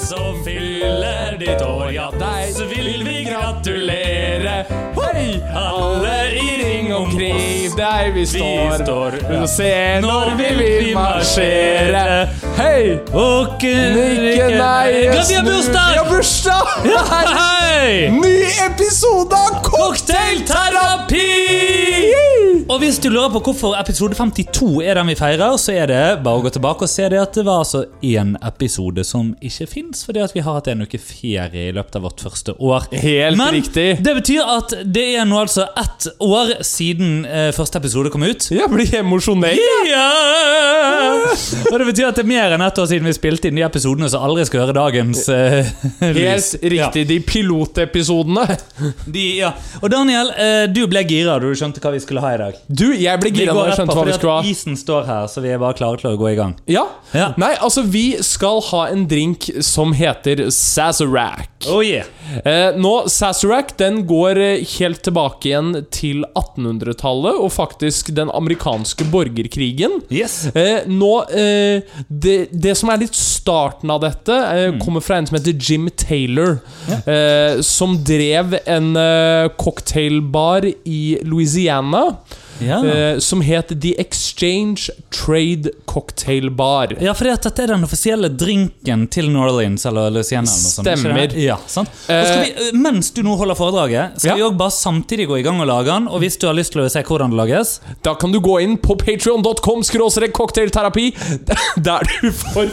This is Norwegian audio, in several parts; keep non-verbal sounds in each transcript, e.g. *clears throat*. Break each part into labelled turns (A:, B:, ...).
A: som fyller ditt år, ja deg så vil vi gratulere. Hei! Alle i ring omkring
B: Omkring deg vi står,
A: Vi står, ja.
B: og se når vi vil marsjere. Hei!
A: Åker
B: Nikke nei
A: Ja, vi har bursdag!
B: Vi har bursdag!
A: Hei!
B: Ny episode av
A: Cocktailterapi! Og hvis du lurer på hvorfor episode 52 er den vi feirer, så er det bare å gå tilbake og se det at det var altså én episode som ikke fins, fordi at vi har hatt en uke ferie i løpet av vårt første år.
B: Helt
A: Men
B: riktig.
A: det betyr at det er nå altså ett år siden eh, første episode kom ut.
B: Jeg blir emosjonell.
A: Ja! Og det betyr at det er mer enn ett år siden vi spilte inn de episodene som aldri skal høre dagens eh, lys.
B: Helt riktig. De pilotepisodene.
A: Ja. De, ja. Og Daniel, eh, du ble gira da du skjønte hva vi skulle ha i dag.
B: Du, jeg ble
A: Vi
B: gira
A: går rett
B: når jeg
A: på,
B: skjønte hva vi skulle
A: fordi at
B: ha.
A: isen står her, så vi er bare klare til å gå i gang.
B: Ja.
A: Ja.
B: Nei, altså, vi skal ha en drink som heter Sazerac.
A: Oh yeah.
B: Eh, nå, Sazerac den går eh, helt tilbake igjen til 1800-tallet og faktisk den amerikanske borgerkrigen.
A: Yes.
B: Eh, nå, eh, det, det som er litt starten av dette, eh, kommer fra en som heter Jim Taylor. Eh, som drev en eh, cocktailbar i Louisiana
A: Ja.
B: eh, som het The Exchange Trade Cocktail Bar.
A: ja, fordi at dette er den offisielle drinken til New Orleans eller Louisiana. Eller noe sånt, ikke
B: Stemmer.
A: det? Ja, sant? Og skal vi, eh, mens du nå holder foredraget, skal
B: Ja.
A: vi òg bare samtidig gå i gang og lage den. Og hvis du har lyst til å se hvordan det lages
B: Da kan du gå inn på patreon.com skråstrek cocktailterapi, *laughs* der du
A: *laughs*
B: får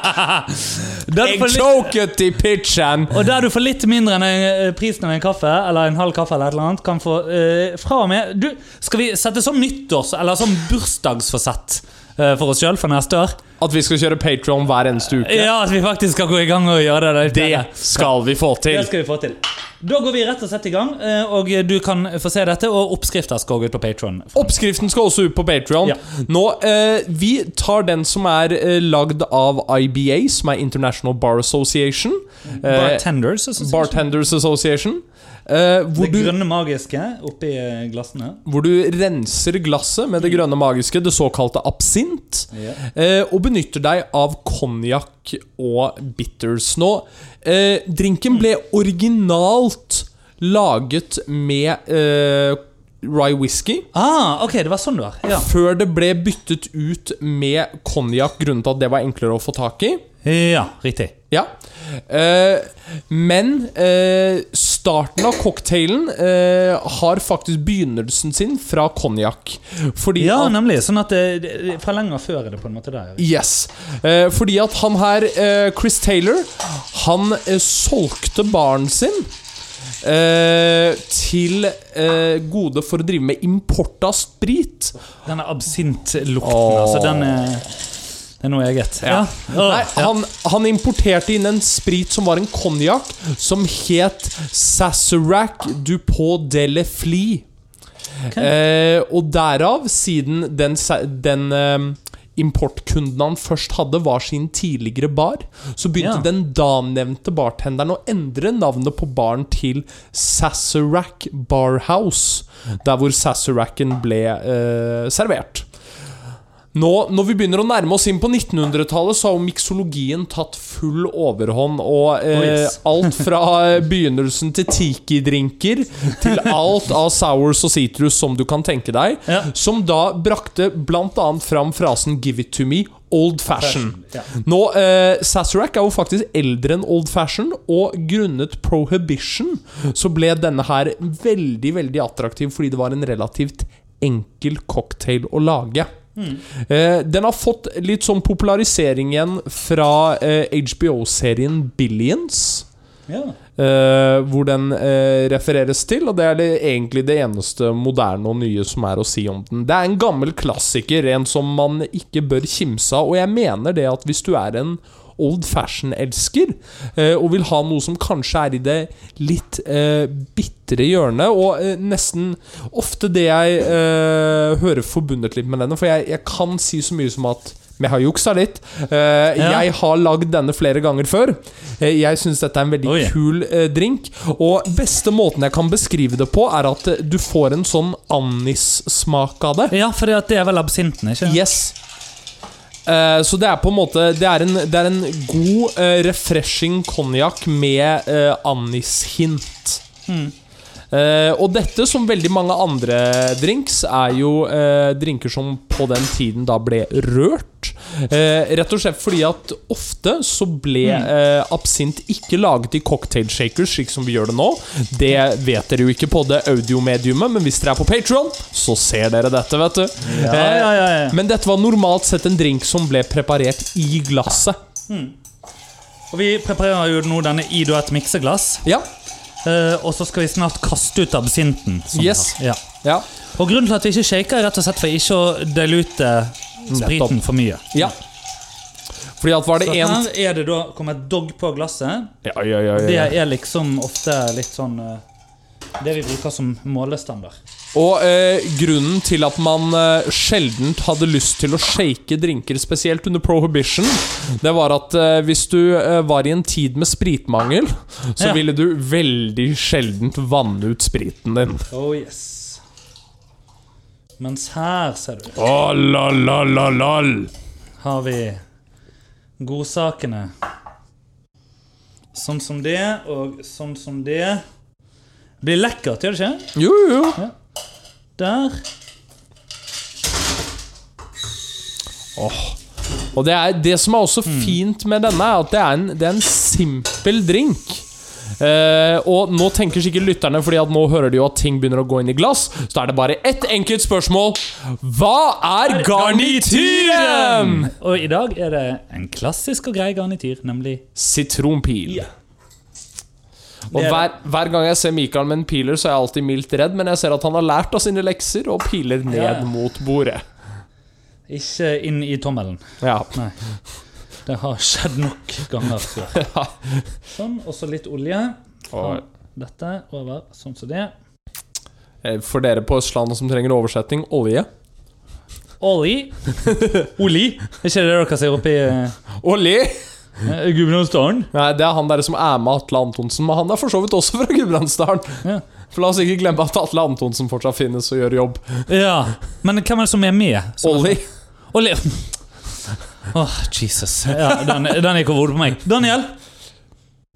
A: der du
B: Jeg
A: får litt,
B: choket i pitchen!
A: og der du får litt mindre enn en, eh, prisen av en kaffe, eller en halv kaffe, eller et eller annet, kan få eh, fra og med Du, skal vi sette som nyttårs- eller som bursdagsforsett eh, for oss sjøl for neste år?
B: At vi skal kjøre Patreon hver eneste uke.
A: Ja, at vi faktisk skal gå i gang og gjøre det.
B: Det skal vi få til.
A: Det skal vi få til. Da går vi rett og slett i gang, eh, og du kan få se dette. Og oppskrifter skal gå ut på Patron.
B: Oppskriften skal også ut på Patreon.
A: Ja.
B: Nå, eh, vi tar den som er eh, lagd av IBA, som er International Bar Association. Eh,
A: Bartenders. jeg synes jeg
B: Bartenders Association. Eh, hvor,
A: Det
B: du,
A: grønne magiske oppi eh, glassene.
B: hvor du renser glasset med det grønne magiske, det såkalte absint.
A: Mm. Ja.
B: Eh, og benytter deg av konjakk og bitters. Nå, eh, drinken ble originalt laget med eh, rye whisky.
A: Ah, ok, det var sånn det var. Ja.
B: Før det ble byttet ut med konjakk, grunnet at det var enklere å få tak i.
A: ja, riktig.
B: Ja. Eh, men eh, starten av cocktailen eh, har faktisk begynnelsen sin fra konjakk. Fordi
A: Ja,
B: at
A: nemlig. Sånn at det, det, Fra lenger før er det på en måte der.
B: Yes. Eh, fordi at han her, eh, Chris Taylor, han eh, solgte baren sin eh, til eh, gode for å drive med import av sprit.
A: Denne absintlukten,
B: Åh.
A: altså. Den er, det er noe eget. Ja. Åh,
B: Nei,
A: ja.
B: han, han importerte inn en sprit som var en konjakk, som het Sazerac du Pau de la Flie. Eh, og derav, siden den, sa- den eh, importkunden han først hadde, var sin tidligere bar, så begynte
A: Ja.
B: den danevnte bartenderen å endre navnet på baren til Sazerac Barhouse, der hvor Sazeracen ble eh, servert. Nå, når vi begynner å nærme oss inn på 1900-tallet, så har jo miksologien tatt full overhånd. Og eh,
A: Oh, yes.
B: *laughs* alt fra eh, begynnelsen til tiki-drinker til alt av sours og sitrus som du kan tenke deg,
A: Ja.
B: som da brakte bl.a. fram frasen 'give it to me'. Old fashion.
A: Ja.
B: Nå, eh, Sazerac er jo faktisk eldre enn old fashion, og grunnet prohibition så ble denne her veldig veldig attraktiv fordi det var en relativt enkel cocktail å lage. Eh, den har fått litt sånn popularisering igjen fra eh, HBO-serien Billions.
A: Ja.
B: eh, hvor den eh, refereres til, og det er det, egentlig det eneste moderne og nye som er å si om den. Det er en gammel klassiker, en som man ikke bør kimse av, og jeg mener det at hvis du er en old fashion-elsker eh, og vil ha noe som kanskje er i det litt eh, bitre hjørnet, og eh, nesten ofte det jeg eh, hører forbundet litt med denne, for jeg, jeg kan si så mye som at men jeg har juksa litt. Eh,
A: Ja.
B: Jeg har lagd denne flere ganger før. Eh, jeg syns dette er en veldig
A: Oi.
B: kul eh, drink. Og beste måten jeg kan beskrive det på, er at eh, du får en sånn anissmak av det.
A: ja, for det er vel absinten, ikke
B: Yes. Eh, så det er på en måte Det er en, det er en god, eh, refreshing konjakk med eh, annishint.
A: Hmm.
B: Eh, og dette, som veldig mange andre drinks, er jo eh, drinker som på den tiden da ble rørt. Eh, rett og slett fordi at ofte så ble
A: Hmm.
B: eh, absint ikke laget i cocktail shakers, slik som vi gjør det nå. Det vet dere jo ikke på det audiomediumet, men hvis dere er på Patron, så ser dere dette, vet du. Eh,
A: ja, ja, ja.
B: Men dette var normalt sett en drink som ble preparert i glasset.
A: Og Vi preparerer jo nå denne i da et mikseglass,
B: Ja.
A: eh, og så skal vi snart kaste ut absinten. som vi
B: Yes.
A: har. Ja.
B: Ja.
A: Og Grunnen til at vi ikke shaker, er rett og slett for ikke å dilute spriten for mye.
B: ja. Fordi at var det
A: Så
B: én
A: her er det da kommer et dogg på glasset.
B: ja, ja, ja,
A: Det er liksom ofte litt sånn eh, Det vi bruker som målestandard.
B: Og eh, grunnen til at man eh, sjeldent hadde lyst til å shake drinker, spesielt under prohibition, det var at eh, hvis du eh, var i en tid med spritmangel, så
A: Ja.
B: ville du veldig sjeldent vanne ut spriten din.
A: Oh yes. Mens her, ser du,
B: Å, la, la, la, lal.
A: har vi godsakene. Sånn som det, og sånn som det. Blir lekkert, gjør det ikke?
B: Jo, jo, jo.
A: Der.
B: Og det, er, det som er også
A: Mm.
B: fint med denne, er at det er en, det er en simpel drink. Eh, og nå tenker sikkert lytterne, Fordi at nå hører de jo at ting begynner å gå inn i glass. Så er det bare ett enkelt spørsmål. Hva er garnityren?
A: Og i dag er det en klassisk og grei garnityr, nemlig
B: Sitronpil. Og
A: Det er
B: hver, hver gang jeg ser Mikael med en piler, så er jeg alltid mildt redd, men jeg ser at han har lært av sine lekser og piler ned
A: Ja.
B: mot bordet.
A: ikke inn i tommelen.
B: Ja.
A: Nei. Det har skjedd nok ganger før. Sånn, og så litt olje.
B: Og
A: Dette over, sånn som det.
B: eh, for dere på Østlandet som trenger oversetting olje.
A: Oli. Oli? Er ikke det det dere sier oppi
B: Olje!
A: uh, Gudbrandsdalen?
B: Nei, det er han der som er med Atle Antonsen, men han er for så vidt også *laughs* fra Gudbrandsdalen.
A: Ja.
B: For la oss ikke glemme at Atle Antonsen fortsatt finnes og gjør *laughs* jobb.
A: ja. Men hvem er det som er med? Som-
B: Olli.
A: Oli. Åh, Jesus. Ja, den, den gikk over hodet på meg. Daniel!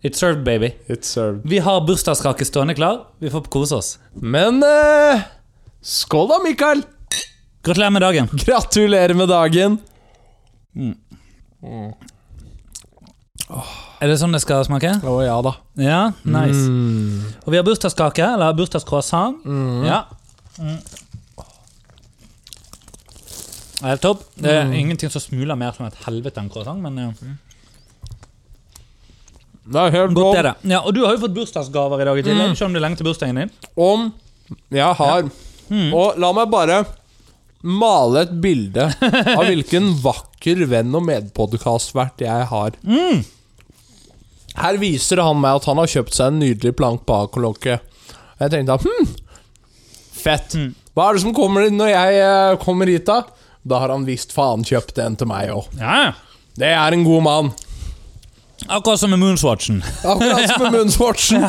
A: It's served, baby.
B: It's served.
A: Vi har bursdagskake stående klar. Vi får kose oss.
B: Men eh, skål da, Mikael!
A: Gratulerer med dagen.
B: Gratulerer med dagen!
A: Er det sånn det skal smake?
B: Å ja da.
A: Ja, nice. Og vi har bursdagskake, eller bursdagscroissant. Ja. Mm. Det er helt topp. Det er ingenting som smuler mer som et helvete enn croissant, men eh,
B: Det er helt
A: godt
B: godt
A: er det. Mm. Ja, og du har jo fått bursdagsgaver i dag i tillegg, selv om det er lenge til bursdagen din.
B: om jeg har
A: Hmm.
B: Og la meg bare male et bilde av
A: *laughs*
B: hvilken vakker venn og medpodkastvert jeg har.
A: Hmm.
B: Her viser han meg at han har kjøpt seg en nydelig plank baklokke. Og jeg tenkte at hm, fett.
A: Hmm.
B: Hva er det som kommer når jeg eh, kommer hit, da? Da har han visst faen kjøpt en til meg òg.
A: Ja,
B: Det er en god mann.
A: Akkurat som med Moonswatchen. *laughs*
B: Akkurat som med Munnsvortsen.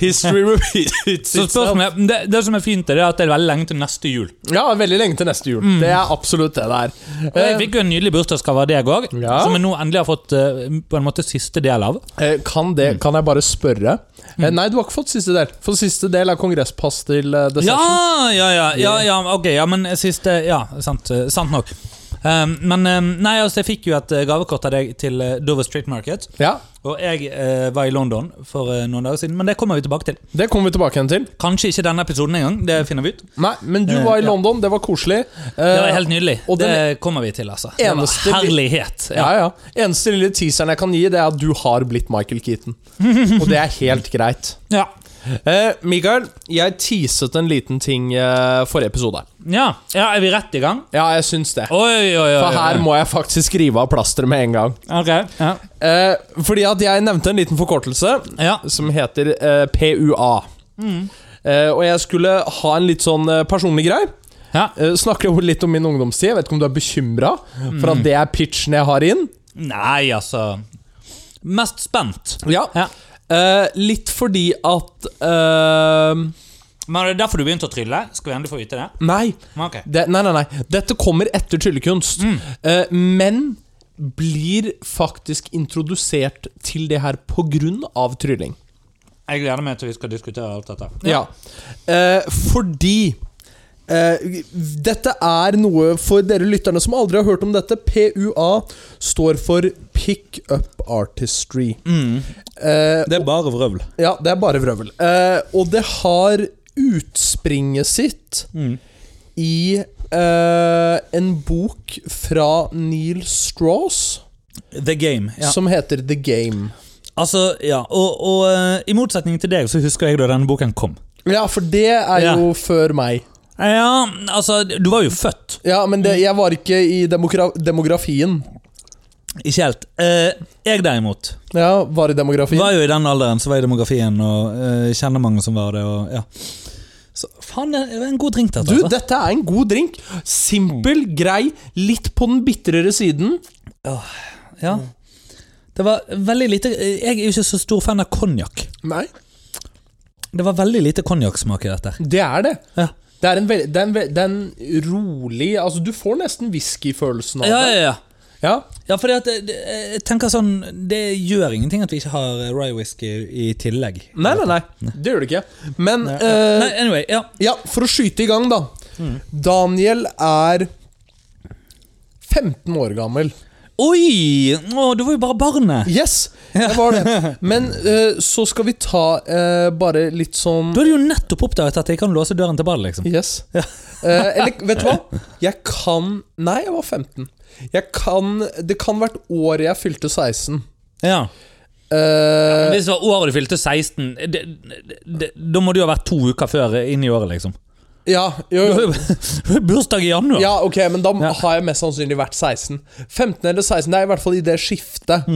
B: History repeats
A: Så
B: itself.
A: spørsmålet, det, det som er fint, er det at det er veldig lenge til neste jul.
B: Ja, veldig lenge til neste jul.
A: Mm.
B: Det er absolutt det der.
A: Og jeg fikk jo en nydelig bursdagsgave av deg òg,
B: Ja.
A: som jeg nå endelig har fått eh, på en måte siste del av.
B: Eh, Kan, det, kan jeg bare spørre? Eh,
A: Mm.
B: Nei, du har ikke fått siste del. For siste del er kongresspass til eh, The
A: Ja,
B: Session.
A: ja, ja, ja, ja, ok, ja, men siste Ja, sant, eh, sant nok. Um, men um, nei, altså, jeg fikk jo et eh, gavekort av deg til eh, Dover Street Market.
B: Ja,
A: Og jeg eh, var i London for eh, noen dager siden, men det kommer vi tilbake til.
B: det kommer vi tilbake igjen til.
A: Kanskje ikke denne episoden engang, det finner vi ut.
B: Nei, men du
A: Eh,
B: var i
A: ja.
B: London, det var koselig. Eh,
A: Det var helt nydelig.
B: og den-
A: det kommer vi til, altså. Det
B: Eneste
A: var
B: vi-
A: herlighet.
B: Ja, ja. Eneste lille teaseren jeg kan gi, det er at du har blitt Michael Keaton. Og det er
A: *laughs*
B: helt greit.
A: Ja.
B: Eh, Mikael, jeg teaset en liten ting eh, forrige episode.
A: ja. ja, er vi rett i gang?
B: Ja, jeg syns det.
A: Oi, oi, oi. oi.
B: For her må jeg faktisk skrive av plasteret med en gang.
A: Ok. Ja.
B: Eh, fordi at jeg nevnte en liten forkortelse
A: ja.
B: som heter eh, PUA. Eh, og jeg skulle ha en litt sånn eh, personlig greie.
A: ja.
B: Eh, snakker jo litt om min ungdomstid. Jeg vet ikke om du er bekymra for at det er pitchen jeg har inn?
A: Nei, altså Mest spent.
B: Ja.
A: Ja.
B: Eh, litt fordi at eh,
A: Men det er derfor du begynte å trylle? Skal vi endelig få vite det?
B: Nei,
A: Men ok.
B: det, nei, nei, nei. Dette kommer etter tryllekunst. Eh, men blir faktisk introdusert til det her på grunn av trylling.
A: Jeg gleder meg til vi skal diskutere alt dette.
B: Ja. Eh, fordi eh, Dette er noe for dere lytterne som aldri har hørt om dette. PUA står for Pick Up Artistry. Eh,
C: Mm. Det er bare vrøvl.
B: ja, det er bare vrøvl. Eh, og det har utspringet sitt
A: Mm.
B: i eh, en bok fra Neil Strauss
A: The Game. Ja.
B: som heter The Game.
A: Altså, ja, og, og eh, I motsetning til deg så husker jeg da denne boken kom.
B: Ja, for det er
A: Ja.
B: jo før meg.
A: Ja, altså, Du var jo født,
B: Ja, men
C: Mm.
B: det, jeg var ikke i demogra demografien.
A: ikke helt. Eh, jeg derimot
B: Ja, var i demografien.
A: var jo i den alderen, så var jeg i demografien og eh, kjenner mange som var det. og ja. Så faen, det var en god drink, dette.
B: Du,
A: altså.
B: dette er en god drink. Simpel,
A: Mm.
B: grei, litt på den bitrere siden.
A: Ja. Det var veldig lite eh, Jeg er jo ikke så stor fan av konjakk.
B: Nei,
A: Det var veldig lite konjakksmak i dette.
B: det er det.
A: Ja.
B: Det er en, vel- det er en, vel- det er en rolig Altså, du får nesten whiskyfølelsen av
A: Ja,
B: det.
A: ja, ja.
B: Ja.
A: Ja, fordi at eh, det, det- jeg tenker sånn Det gjør ingenting at vi ikke har eh, rye whisky i tillegg.
B: Nei, nei, nei. Det gjør det ikke. Men eh,
A: Nei, Mm. anyway, ja.
B: ja, for å skyte i gang, da. Daniel er 15 år gammel.
A: Oi! Å, du var jo bare barnet.
B: Yes, det
A: *laughs*
B: var det. Men eh, så skal vi ta eh, bare litt sånn
A: Du hadde jo nettopp oppdaget at jeg kan låse døren til ballet, liksom.
B: Yes. Eh, eller, vet du hva? Jeg kan Nei, jeg var 15. Jeg kan Det kan hvert år jeg fylte 16.
A: Ja.
B: Eh,
A: Hvis det var året du fylte 16, det, det, det, da må du jo ha vært to uker før inn i året, liksom.
B: ja, jo,
A: Du har
B: jo.
A: jo- du har jo *laughs* bursdag i januar.
B: Eh. ja, ok, men da har jeg mest sannsynlig vært 16. 15 eller 16, det er i hvert fall i det skiftet.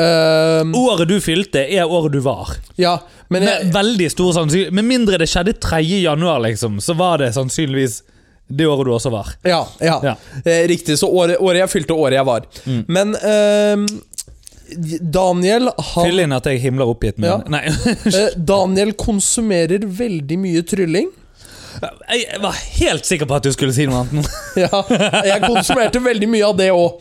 B: Eh,
A: Året du fylte, er året du var.
B: ja, men
A: Med
B: jeg,
A: veldig stor sannsynlighet. Med mindre det skjedde 3. januar, liksom, så var det sannsynligvis det året du også var.
B: ja, ja, Mm.
A: Ja.
B: Eh, riktig. Så året, året jeg fylte, året jeg var. Men eh, Daniel han
A: Fyll inn at jeg himler oppgitt med
B: Ja.
A: Nei, *laughs*
B: eh, Daniel konsumerer veldig mye trylling.
A: jeg var helt sikker på at du skulle si noe annet. nå. *laughs*
B: Ja, jeg konsumerte veldig mye av det òg.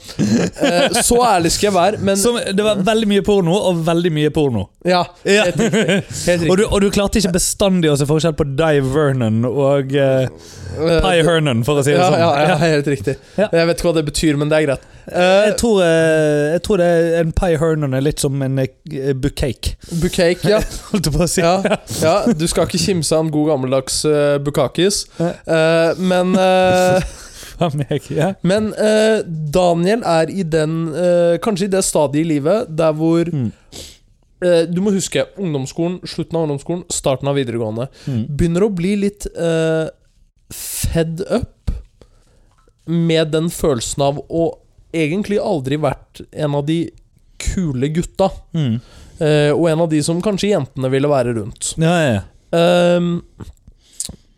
B: Så ærlig skal jeg være, men
A: Som, det var veldig mye porno, og veldig mye porno.
B: ja.
A: Ja.
B: Helt riktig.
A: Og
B: Helt riktig.
A: du, og du klarte ikke bestandig å se forskjell på Di Vernon og uh, Pi Hernon, for å si det
B: Ja,
A: sånn.
B: ja, ja, helt riktig.
A: Ja.
B: Jeg vet ikke hva det betyr, men det er greit. Eh,
A: Jeg tror, eh, jeg tror det er en Pi Hernon er litt som en eh, bukake,
B: Bukake, ja.
A: *laughs* holdt jeg på å si.
B: ja. Ja, du skal ikke kimse av en god gammeldags eh, bukakis. Eh, men eh,
A: Ja, meg, ja.
B: men eh, Daniel er i den eh, Kanskje i det stadiet i livet der hvor
A: Mm.
B: eh, Du må huske ungdomsskolen, slutten av ungdomsskolen, starten av videregående.
A: Mm.
B: begynner å bli litt eh, fed up med den følelsen av å egentlig aldri vært en av de kule gutta.
A: Mm.
B: eh, og en av de som kanskje jentene ville være rundt.
A: Ja, ja, ja.
B: Ehm,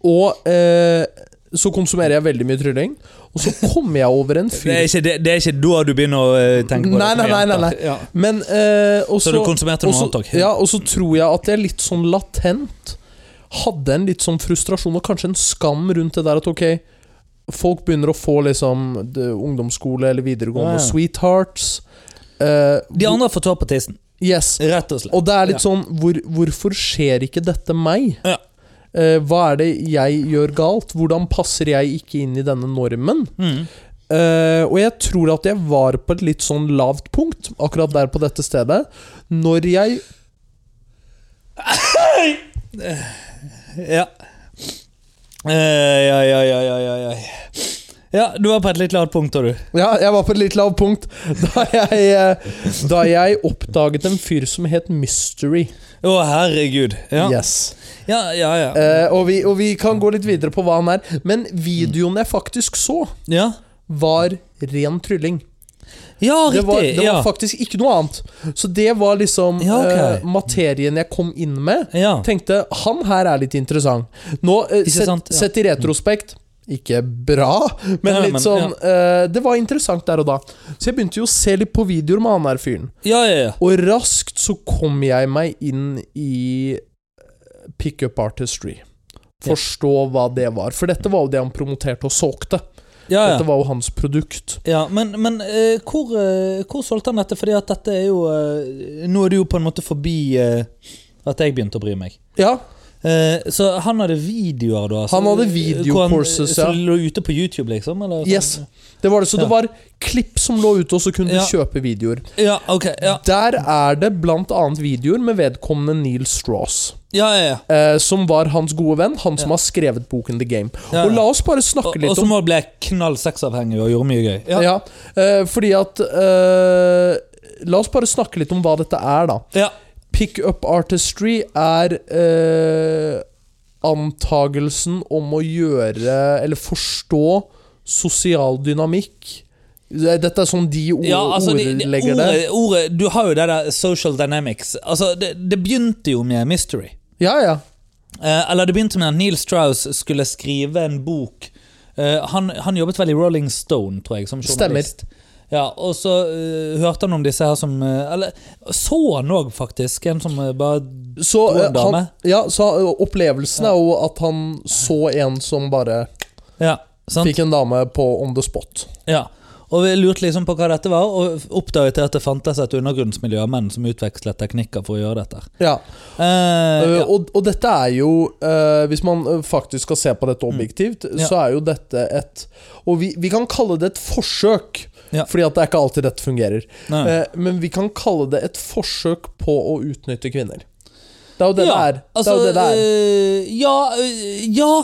B: og eh, så konsumerer jeg veldig mye trylling. Og så kommer jeg over en
A: Det er,
B: fyr
A: ikke, det, det er ikke da du begynner å eh, tenke på
B: Nei,
A: det.
B: nei, nei, nei, nei.
A: Ja.
B: Men eh, og
A: Så, du konsumerte
B: og
A: noe
B: så-
A: annet òg?
B: Ja, og så tror jeg at jeg litt sånn latent hadde en litt sånn frustrasjon og kanskje en skam rundt det der at ok, folk begynner å få liksom det, ungdomsskole eller videregående
A: Ja, ja.
B: sweethearts. Eh,
A: De andre får tå på tissen,
B: Yes.
A: rett og slett.
B: Og det er litt
A: Ja.
B: sånn hvor, Hvorfor skjer ikke dette meg?
A: Ja.
B: Eh, hva er det jeg gjør galt? Hvordan passer jeg ikke inn i denne normen?
A: Mm.
B: Eh, og jeg tror at jeg var på et litt sånn lavt punkt, akkurat der på dette stedet, når jeg
A: Ja. Eh, ja, ja, ja, ja, ja, ja. Ja, du var på et litt lavt punkt, da, du.
B: Ja, jeg var på et litt lavt punkt *laughs* da jeg, eh, da jeg oppdaget en fyr som het Mystery.
A: Å, herregud. Ja,
B: Yes.
A: ja, ja. ja.
B: Eh, og, vi, og vi kan gå litt videre på hva han er. Men videoen jeg faktisk så,
A: ja.
B: var ren trylling.
A: ja
B: Det
A: riktig.
B: var, det
A: ja.
B: var faktisk ikke noe annet. Så det var liksom
A: Ja, ok.
B: eh, materien jeg kom inn med.
A: ja.
B: Tenkte han her er litt interessant. Nå, eh,
A: Ikke
B: sett,
A: sant, ja.
B: sett i retrospekt ikke bra, men
A: Ja,
B: litt
A: men,
B: sånn eh, Det var interessant der og da. Så jeg begynte jo å se litt på videoer med han her fyren.
A: ja, ja, ja.
B: Og raskt så kom jeg meg inn i pickup eh, artistry. forstå hva det var. For dette var jo det han promoterte og solgte.
A: Ja, ja.
B: Dette var jo hans produkt.
A: Ja, men, men eh, hvor, eh, hvor solgte han dette? Fordi at dette er jo eh, Nå er det jo på en måte forbi eh, at jeg begynte å bry meg.
B: Ja,
A: Eh, så han hadde videoer, da? altså,
B: Han hadde
A: hvor han-
B: videocourses, ja.
A: Som lå ute på YouTube, liksom? Eller,
B: yes. Det var det. Så
A: Ja.
B: det var klipp som lå ute, og så kunne
A: Ja.
B: du kjøpe videoer.
A: Ja, ok. Ja,
B: Der er det blant annet videoer med vedkommende Neil Strauss.
A: ja, ja. ja.
B: Eh, som var hans gode venn, han som
A: Ja.
B: har skrevet boken The Game.
A: Ja,
B: Og
A: ja.
B: la oss bare snakke
A: Og,
B: litt
A: og så
B: om
A: må det bli knall sexavhengig og gjøre mye gøy. Ja.
B: ja. eh, Fordi at eh, La oss bare snakke litt om hva dette er, da.
A: Ja.
B: Pickup artistry er eh, antagelsen om å gjøre Eller forstå sosial dynamikk. Dette er sånn de ord,
A: Ja, altså, de, de,
B: ordlegger
A: ordet,
B: det.
A: ordet, du har jo det der social dynamics. Altså, det, det begynte jo med mystery.
B: Ja, ja.
A: Eh, eller det begynte med at Neil Strauss skulle skrive en bok. Eh, han, han jobbet vel i Rolling Stone, tror jeg, som journalist. Ja, og så eh, hørte han om disse her som eh, Eller så han òg, faktisk. En som eh, bare
B: Så,
A: Det var en
B: eh, han,
A: dame.
B: ja, så eh, opplevelsen er jo at han så en som bare
A: Ja, sant?
B: fikk en dame på on the spot.
A: Ja. Og vi lurte liksom på hva dette var, og oppdaget at det fantes et undergrunnsmiljø av menn som utvekslet teknikker for å gjøre dette.
B: Ja.
A: Eh,
B: Eh,
A: ja.
B: og, og dette er jo eh, Hvis man eh, faktisk skal se på dette objektivt,
A: Mm. Ja.
B: så er jo dette et Og vi, vi kan kalle det et forsøk,
A: Ja.
B: fordi at det er ikke alltid dette fungerer.
A: Nei.
B: Eh, men vi kan kalle det et forsøk på å utnytte kvinner. Det er jo det
A: ja, altså,
B: det er. det er jo det det er.
A: eh, ja, eh, ja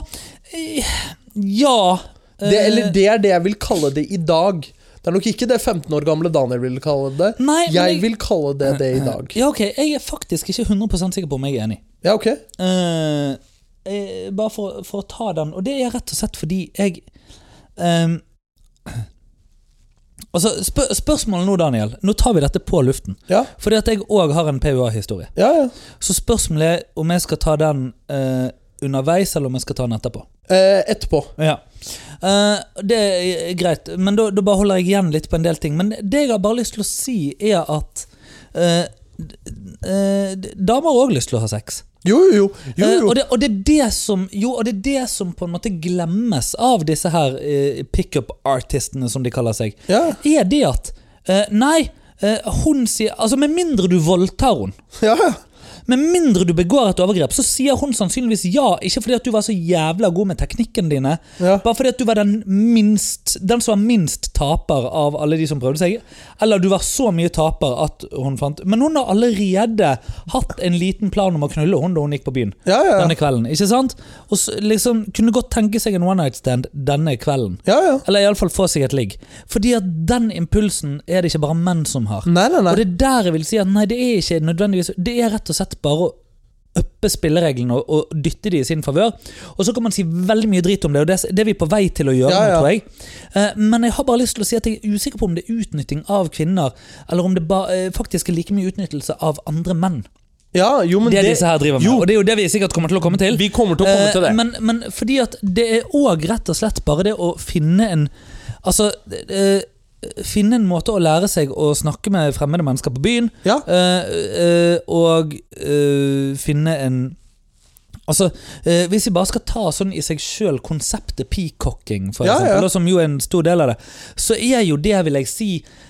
A: eh, Ja.
B: Det, eller
A: eh,
B: det er det jeg vil kalle det i dag. Det er nok ikke det 15 år gamle Daniel ville kalle det.
A: Nei, men
B: jeg
A: jeg-
B: vil kalle det det i dag.
A: Ja, ok, Jeg er faktisk ikke 100 sikker på om jeg er enig.
B: Ja, ok?
A: Eh, eh, bare for, for å ta den, og det er rett og slett fordi jeg ehm, *clears throat* Altså, spør, Spørsmålet nå, Daniel. Nå tar vi dette på luften.
B: Ja,
A: Fordi at jeg òg har en PUA-historie.
B: ja, ja.
A: Så spørsmålet er om jeg skal ta den eh, underveis, eller om jeg skal ta den etterpå.
B: Eh, etterpå.
A: Ja. Eh, det er greit, men da, da bare holder jeg igjen litt på en del ting. Men det jeg har bare lyst til å si, er at eh, d- eh, d- damer har òg lyst til å ha sex.
B: Jo, jo, jo. jo,
A: Eh,
B: jo.
A: og, det, og det er det som Jo, og det er det som på en måte glemmes av disse her eh, pickup-artistene, som de kaller seg.
B: Ja.
A: Er det at eh, Nei, eh, hun sier Altså, med mindre du voldtar henne.
B: ja, ja.
A: Med mindre du begår et overgrep, så sier hun sannsynligvis ja. Ikke fordi at du var så jævla god med teknikken dine,
B: Ja.
A: bare fordi at du var den minst Den som var minst taper av alle de som prøvde seg. Eller du var så mye taper at hun fant Men hun har allerede hatt en liten plan om å knulle hun da hun gikk på byen.
B: Ja, ja, ja.
A: Denne kvelden, ikke sant? Og så, liksom, kunne godt tenke seg en one night stand denne kvelden.
B: ja, ja.
A: Eller iallfall få seg et ligg. Fordi at den impulsen er det ikke bare menn som har.
B: Nei, nei, nei.
A: Og det er der jeg vil si at nei, det er ikke nødvendigvis Det er rett og slett bare å uppe spillereglene og, og dytte de i sin favør. Og så kan man si veldig mye drit om det, og det, er s- det er vi på vei til å gjøre
B: Ja,
A: nå,
B: ja.
A: tror jeg. Eh, men jeg har bare lyst til å si at jeg er usikker på om det er utnytting av kvinner, eller om det ba, eh, faktisk er like mye utnyttelse av andre menn.
B: Ja, jo, men
A: Det, liksom-
B: det,
A: disse her driver med,
B: jo.
A: og det er jo det vi sikkert kommer til å komme til.
B: Vi kommer til å komme til det.
A: Eh, Men, men fordi at det er òg rett og slett bare det å finne en Altså eh, Finne en måte å lære seg å snakke med fremmede mennesker på byen.
B: Ja.
A: eh, eh, og eh, finne en Altså, eh, Hvis vi bare skal ta sånn i seg sjøl konseptet peacocking, for
B: Ja, ja.
A: eksempel, da, som jo er en stor del av det, så er jo det, vil jeg si,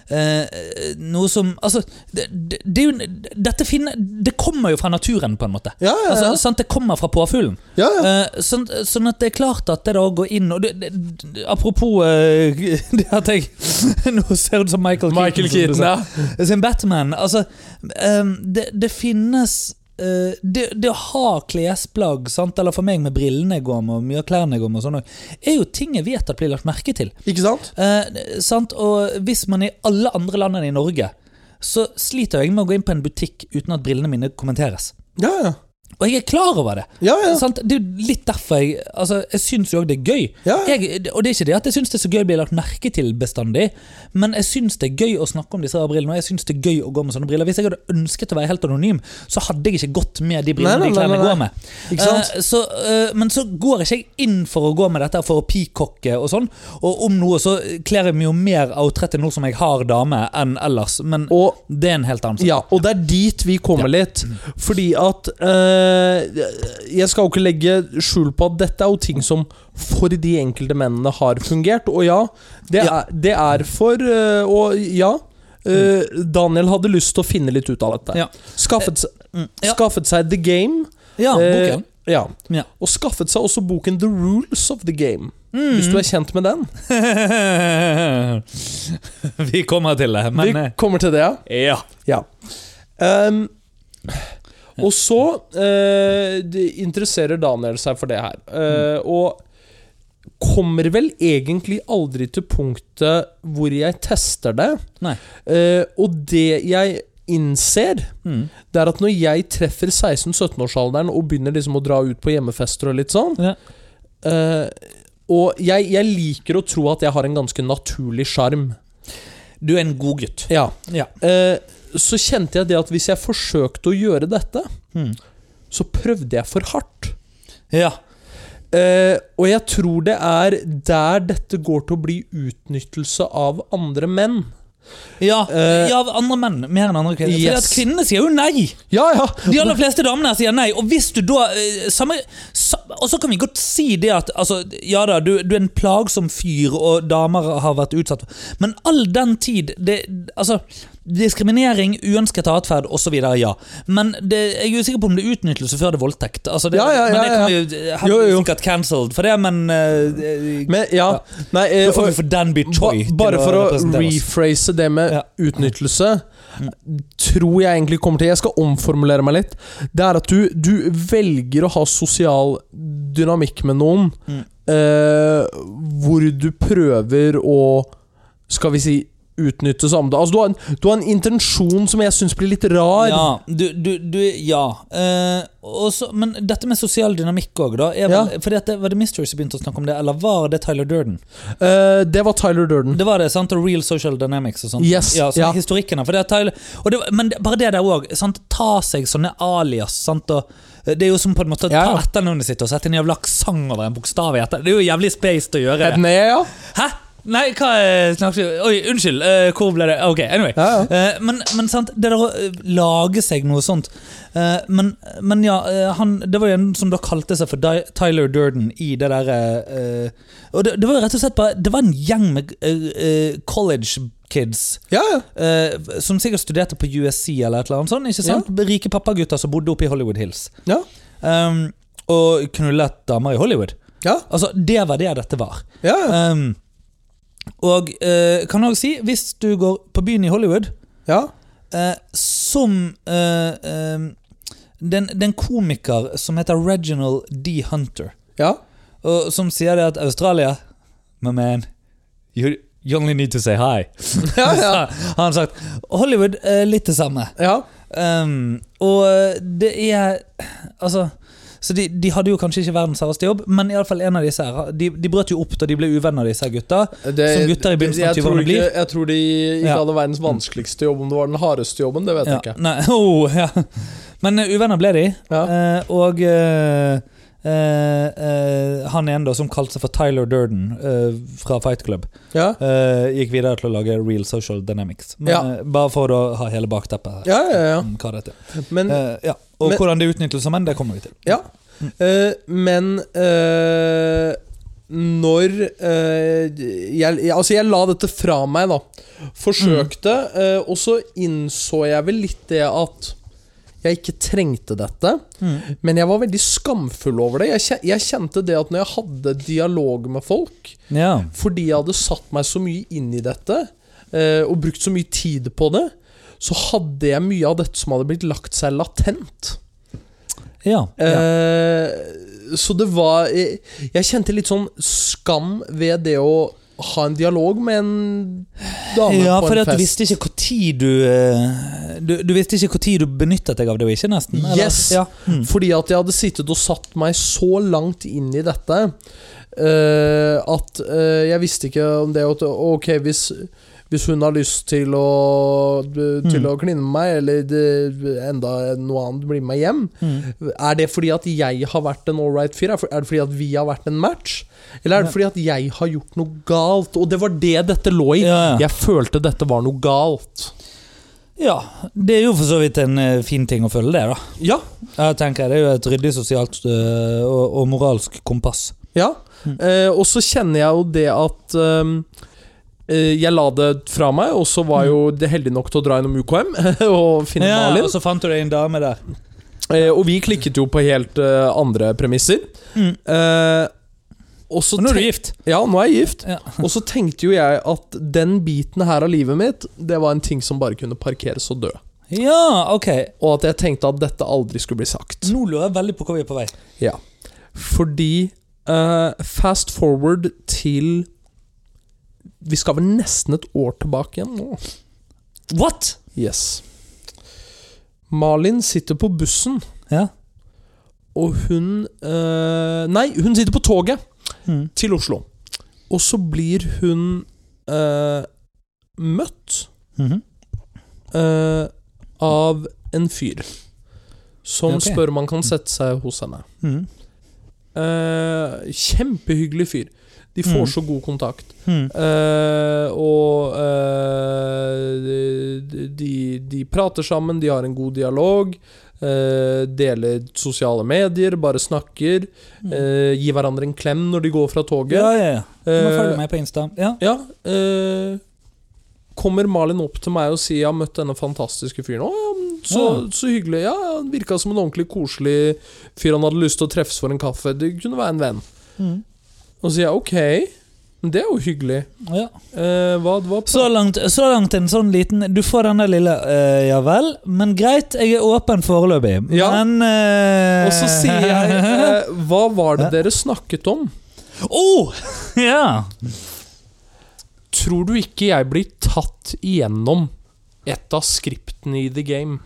A: eh, eh, noe som Altså, det, det, det, er jo, dette finne, det kommer jo fra naturen, på en måte.
B: Ja, ja, ja.
A: Altså, sant? Det kommer fra påfuglen.
B: ja, ja.
A: Eh, sånn, sånn at det er klart at det da går inn og det, det, det, Apropos eh, *laughs* det at jeg Nå ser det ut som Michael,
B: Michael
A: Keaton.
B: Keaton,
A: som du sa.
B: ja.
A: Sin Batman. Altså, eh, det, det finnes eh, det, det å ha klesplagg, sant? eller for meg med brillene jeg går med, og mye av klærne jeg går med, og sånn, også, er jo ting jeg vet at blir lagt merke til.
B: Ikke sant?
A: Eh, sant? Og hvis man er i alle andre land enn i Norge, så sliter jeg med å gå inn på en butikk uten at brillene mine kommenteres.
B: Ja, ja.
A: Og jeg er klar over det.
B: Ja, ja.
A: Sant? Det er jo litt derfor jeg altså, Jeg syns jo òg det er gøy.
B: Ja, ja.
A: Jeg, og det er ikke det at jeg syns det er så gøy å bli lagt merke til bestandig, men jeg syns det er gøy å snakke om disse her brillene, og jeg syns det er gøy å gå med sånne briller. Hvis jeg hadde ønsket å være helt anonym, så hadde jeg ikke gått med de brillene
B: Nei, nei,
A: de klærne
B: nei,
A: jeg
B: nei,
A: går med.
B: Ikke sant?
A: Eh, så, eh, men så går ikke jeg inn for å gå med dette for å peacocke og sånn, og om noe så kler jeg meg jo mer outrettet nå som jeg har dame, enn ellers, men
B: Og,
A: det er en helt annen sak. Mm.
B: ja, og det er dit vi kommer litt. Fordi at eh, eh, Jeg skal jo ikke legge skjul på at dette er jo ting som for de enkelte mennene har fungert. Og ja, det
A: Ja.
B: er, det er for eh, Og ja, eh, Daniel hadde lyst til å finne litt ut av dette.
A: Mm. Ja.
B: Skaffet, se-
A: Mm, ja.
B: skaffet seg The Game.
A: ja,
B: eh,
A: boken.
B: ja.
A: Ja.
B: Og skaffet seg også boken The Rules of the Game.
A: Mm.
B: Hvis du er kjent med den.
A: *laughs* Vi kommer til det,
B: Vi
A: men
B: kommer til det, ja.
A: eh, Ja.
B: Ja. Ehm, og så eh, det interesserer Daniel seg for det her. Eh,
A: Mm.
B: Og kommer vel egentlig aldri til punktet hvor jeg tester det.
A: Nei.
B: Eh, og det jeg innser,
A: Mm.
B: det er at når jeg treffer 16-17-årsalderen og begynner liksom å dra ut på hjemmefester og litt sånn,
A: Ja.
B: eh, og jeg, jeg liker å tro at jeg har en ganske naturlig sjarm.
A: Du er en god gutt.
B: Ja.
A: Ja.
B: Eh, så kjente jeg det at hvis jeg forsøkte å gjøre dette,
A: Mm.
B: så prøvde jeg for hardt.
A: Ja.
B: Eh, og jeg tror det er der dette går til å bli utnyttelse av andre menn.
A: Ja,
B: Eh,
A: ja, av andre menn mer enn andre kvinner. Fordi
B: yes.
A: at kvinnene sier jo nei!
B: Ja, ja!
A: De aller fleste damene sier nei. Og hvis du da eh, samme, sa, Og så kan vi godt si det at altså, Ja da, du, du er en plagsom fyr, og damer har vært utsatt for Men all den tid det, Altså, diskriminering, uønsket atferd osv., ja. Men det, jeg er usikker på om det er utnyttelse før det er voldtekt. Altså, det,
B: Ja, ja,
A: men
B: ja,
A: det kan vi jo, her
B: Jo,
A: blir vi
B: jo.
A: sikkert cancelled for det, men eh,
B: Men, ja. Nei, eh,
A: Da får
B: og-
A: vi for Danby
B: ba,
A: Choi. til
B: bare for å
A: representere oss.
B: rephrase det med
A: Ja. Mm.
B: utnyttelse, tror jeg egentlig kommer til Jeg skal omformulere meg litt. Det er at du, du velger å ha sosial dynamikk med noen
A: Mm.
B: eh, hvor du prøver å Skal vi si utnytte samme Altså, du har, en, du har en intensjon som jeg syns blir litt rar.
A: Ja. Du, du, du, ja. Eh, og så- men dette med sosial dynamikk òg, da. Er vel, fordi at det, var det Mystery som begynte å snakke om det, eller var det Tyler Durden?
B: Eh, det var Tyler Durden.
A: Det var det, sant? Og Real Social Dynamics og sånn.
B: Yes,
A: ja, så
B: ja.
A: Historikken her. For det er Tyler, og det, var- men det, bare det der òg. Ta seg sånne alias. Sant? Og, eh, det er jo som på en måte å
B: Ja, ja.
A: ta etternavnet sitt og sette en jævla aksent over en bokstav i etter. Det er jo jævlig spaced å gjøre.
B: Ned, ja.
A: Hæ? Nei, hva eh, snakker du Oi, unnskyld. eh, hvor ble det Ok, anyway.
B: Ja,
A: Eh, men, men sant, det der å eh, lage seg noe sånt Eh, men, men ja, eh, han Det var jo en som da kalte seg for Di Tyler Durden i det derre Og det, det var jo rett og slett bare Det var en gjeng med eh, eh, college kids
B: Ja, ja.
A: eh, som sikkert studerte på USC eller et eller annet sånt. Ikke sant? Rike pappagutter som bodde oppe i Hollywood Hills.
B: Ja.
A: Um, og knullet damer i Hollywood.
B: Ja,
A: Altså, det var det dette var.
B: ja.
A: Um, og eh, kan jeg også si, hvis du går på byen i Hollywood
B: ja.
A: eh, Som eh, em, den, den komiker som heter Reginald D. Hunter,
B: ja.
A: og, som sier det at Australia My man, you, you only need to say hi.
B: *laughs* Ja, ja.
A: Har *laughs* han sagt. Hollywood er litt det samme.
B: ja.
A: Um, og det er Altså så de, de hadde jo kanskje ikke verdens hardeste jobb, men i alle fall en av disse her De, de brøt jo opp da de ble uvenner, disse her gutta.
B: Det-
A: Som gutter i begynnelsen av
B: jeg
A: 20-årene
B: tror ikke-
A: blir.
B: Jeg tror de ikke
A: Ja.
B: hadde verdens vanskeligste jobb, om det var den hardeste jobben. Det vet jeg
A: ja.
B: ikke.
A: Nei, *laughs* oh, ja. Men eh, uvenner ble de,
B: Ja.
A: eh, og eh, eh, eh, han ene da som kalte seg for Tyler Durden eh, fra Fight Club,
B: Ja.
A: eh, gikk videre til å lage Real Social Dynamics. Men,
B: Ja.
A: eh, bare for å da ha hele bakteppet her.
B: Ja, ja, ja.
A: om Hva dette er.
B: Men,
A: Eh, ja. Og
B: men-
A: hvordan det utnyttes som menn, det kommer vi til.
B: ja. Eh, men eh, når eh, jeg, jeg, Altså, jeg la dette fra meg, da. Forsøkte, eh, og så innså jeg vel litt det at jeg ikke trengte dette,
A: Mm.
B: men jeg var veldig skamfull over det. Jeg, kje- jeg kjente det at når jeg hadde dialog med folk,
A: Ja.
B: fordi jeg hadde satt meg så mye inn i dette, eh, og brukt så mye tid på det, så hadde jeg mye av dette som hadde blitt lagt seg latent.
A: Ja. ja.
B: Eh, så det var jeg, jeg kjente litt sånn skam ved det å ha en dialog med en dame
A: Ja,
B: på
A: for
B: en
A: at du
B: fest.
A: visste ikke hvor tid du eh, Du, du visste ikke hvor tid du benyttet deg av det, og ikke nesten? eller?
B: Yes.
A: Ja. Mm.
B: Fordi at jeg hadde sittet og satt meg så langt inn i dette eh, at eh, jeg visste ikke om det at Ok, hvis, hvis hun har lyst til å, til
A: Mm.
B: å kline med meg, eller det, enda noe annet, bli med meg hjem,
A: Mm.
B: er det fordi at jeg har vært en ålreit fyr? Er er det fordi at vi har vært en match? Eller er det fordi at jeg har gjort noe galt? Og det var det dette lå i.
A: Ja, ja.
B: Jeg følte dette var noe galt.
A: Ja, det er jo for så vidt en eh, fin ting å følge det, da.
B: Ja,
A: Jeg tenker Det er jo et ryddig sosialt eh, og, og moralsk kompass.
B: Ja.
A: Mm.
B: Eh, og så kjenner jeg jo det at ehm, eh, jeg la det fra meg, og så var jo det heldig nok til å dra innom UKM *laughs* og finne
A: Mm. Ja, altså.
B: Malin.
A: og så fant du deg en dame der.
B: Eh, og vi klikket jo på helt eh, andre premisser.
A: Mm.
B: Eh, og så
A: Og nå er du
B: tenk-
A: gift.
B: Ja, nå er jeg gift.
A: Ja.
B: Og så tenkte jo jeg at den biten her av livet mitt, det var en ting som bare kunne parkeres og dø.
A: Ja, ok.
B: Og at jeg tenkte at dette aldri skulle bli sagt.
A: Nå lurer jeg veldig på hvor vi er på vei.
B: Ja. Fordi eh, Fast forward til Vi skal vel nesten et år tilbake igjen nå.
A: What?!
B: Yes. Malin sitter på bussen,
A: Ja.
B: og hun eh, Nei, hun sitter på toget
A: Mm.
B: til Oslo. Og så blir hun eh, møtt
A: Mhm.
B: eh, av en fyr som
A: Ok.
B: spør om han kan sette seg hos henne.
A: Mhm.
B: Eh, kjempehyggelig fyr. De får
A: Mm.
B: så god kontakt.
A: Mhm.
B: Eh, og eh, de, de prater sammen, de har en god dialog. eh, deler sosiale medier, bare snakker. eh, gir hverandre en klem når de går fra toget.
A: Ja, Mm. ja, ja. Du må
B: Eh,
A: følge meg på Insta. Ja.
B: ja eh, Kommer Malin opp til meg og sier 'jeg har møtt denne fantastiske fyren'. Å, ja, men så,
A: Ja.
B: så hyggelig. Ja, ja, han virka som en ordentlig koselig fyr han hadde lyst til å treffes for en kaffe. Det kunne være en venn.
A: Mhm.
B: Og så sier jeg 'ok, men det er jo hyggelig'.
A: ja.
B: Eh, hva, hva
A: Så langt, så langt en sånn liten Du får den der lille eh, Ja vel, men greit, jeg er åpen foreløpig.
B: Ja.
A: Men eh,
B: Og så sier
A: *laughs*
B: jeg eh, Hva var det dere snakket om?
A: oh! Ja!
B: Tror du ikke jeg blir tatt igjennom et av skriptene i The Game?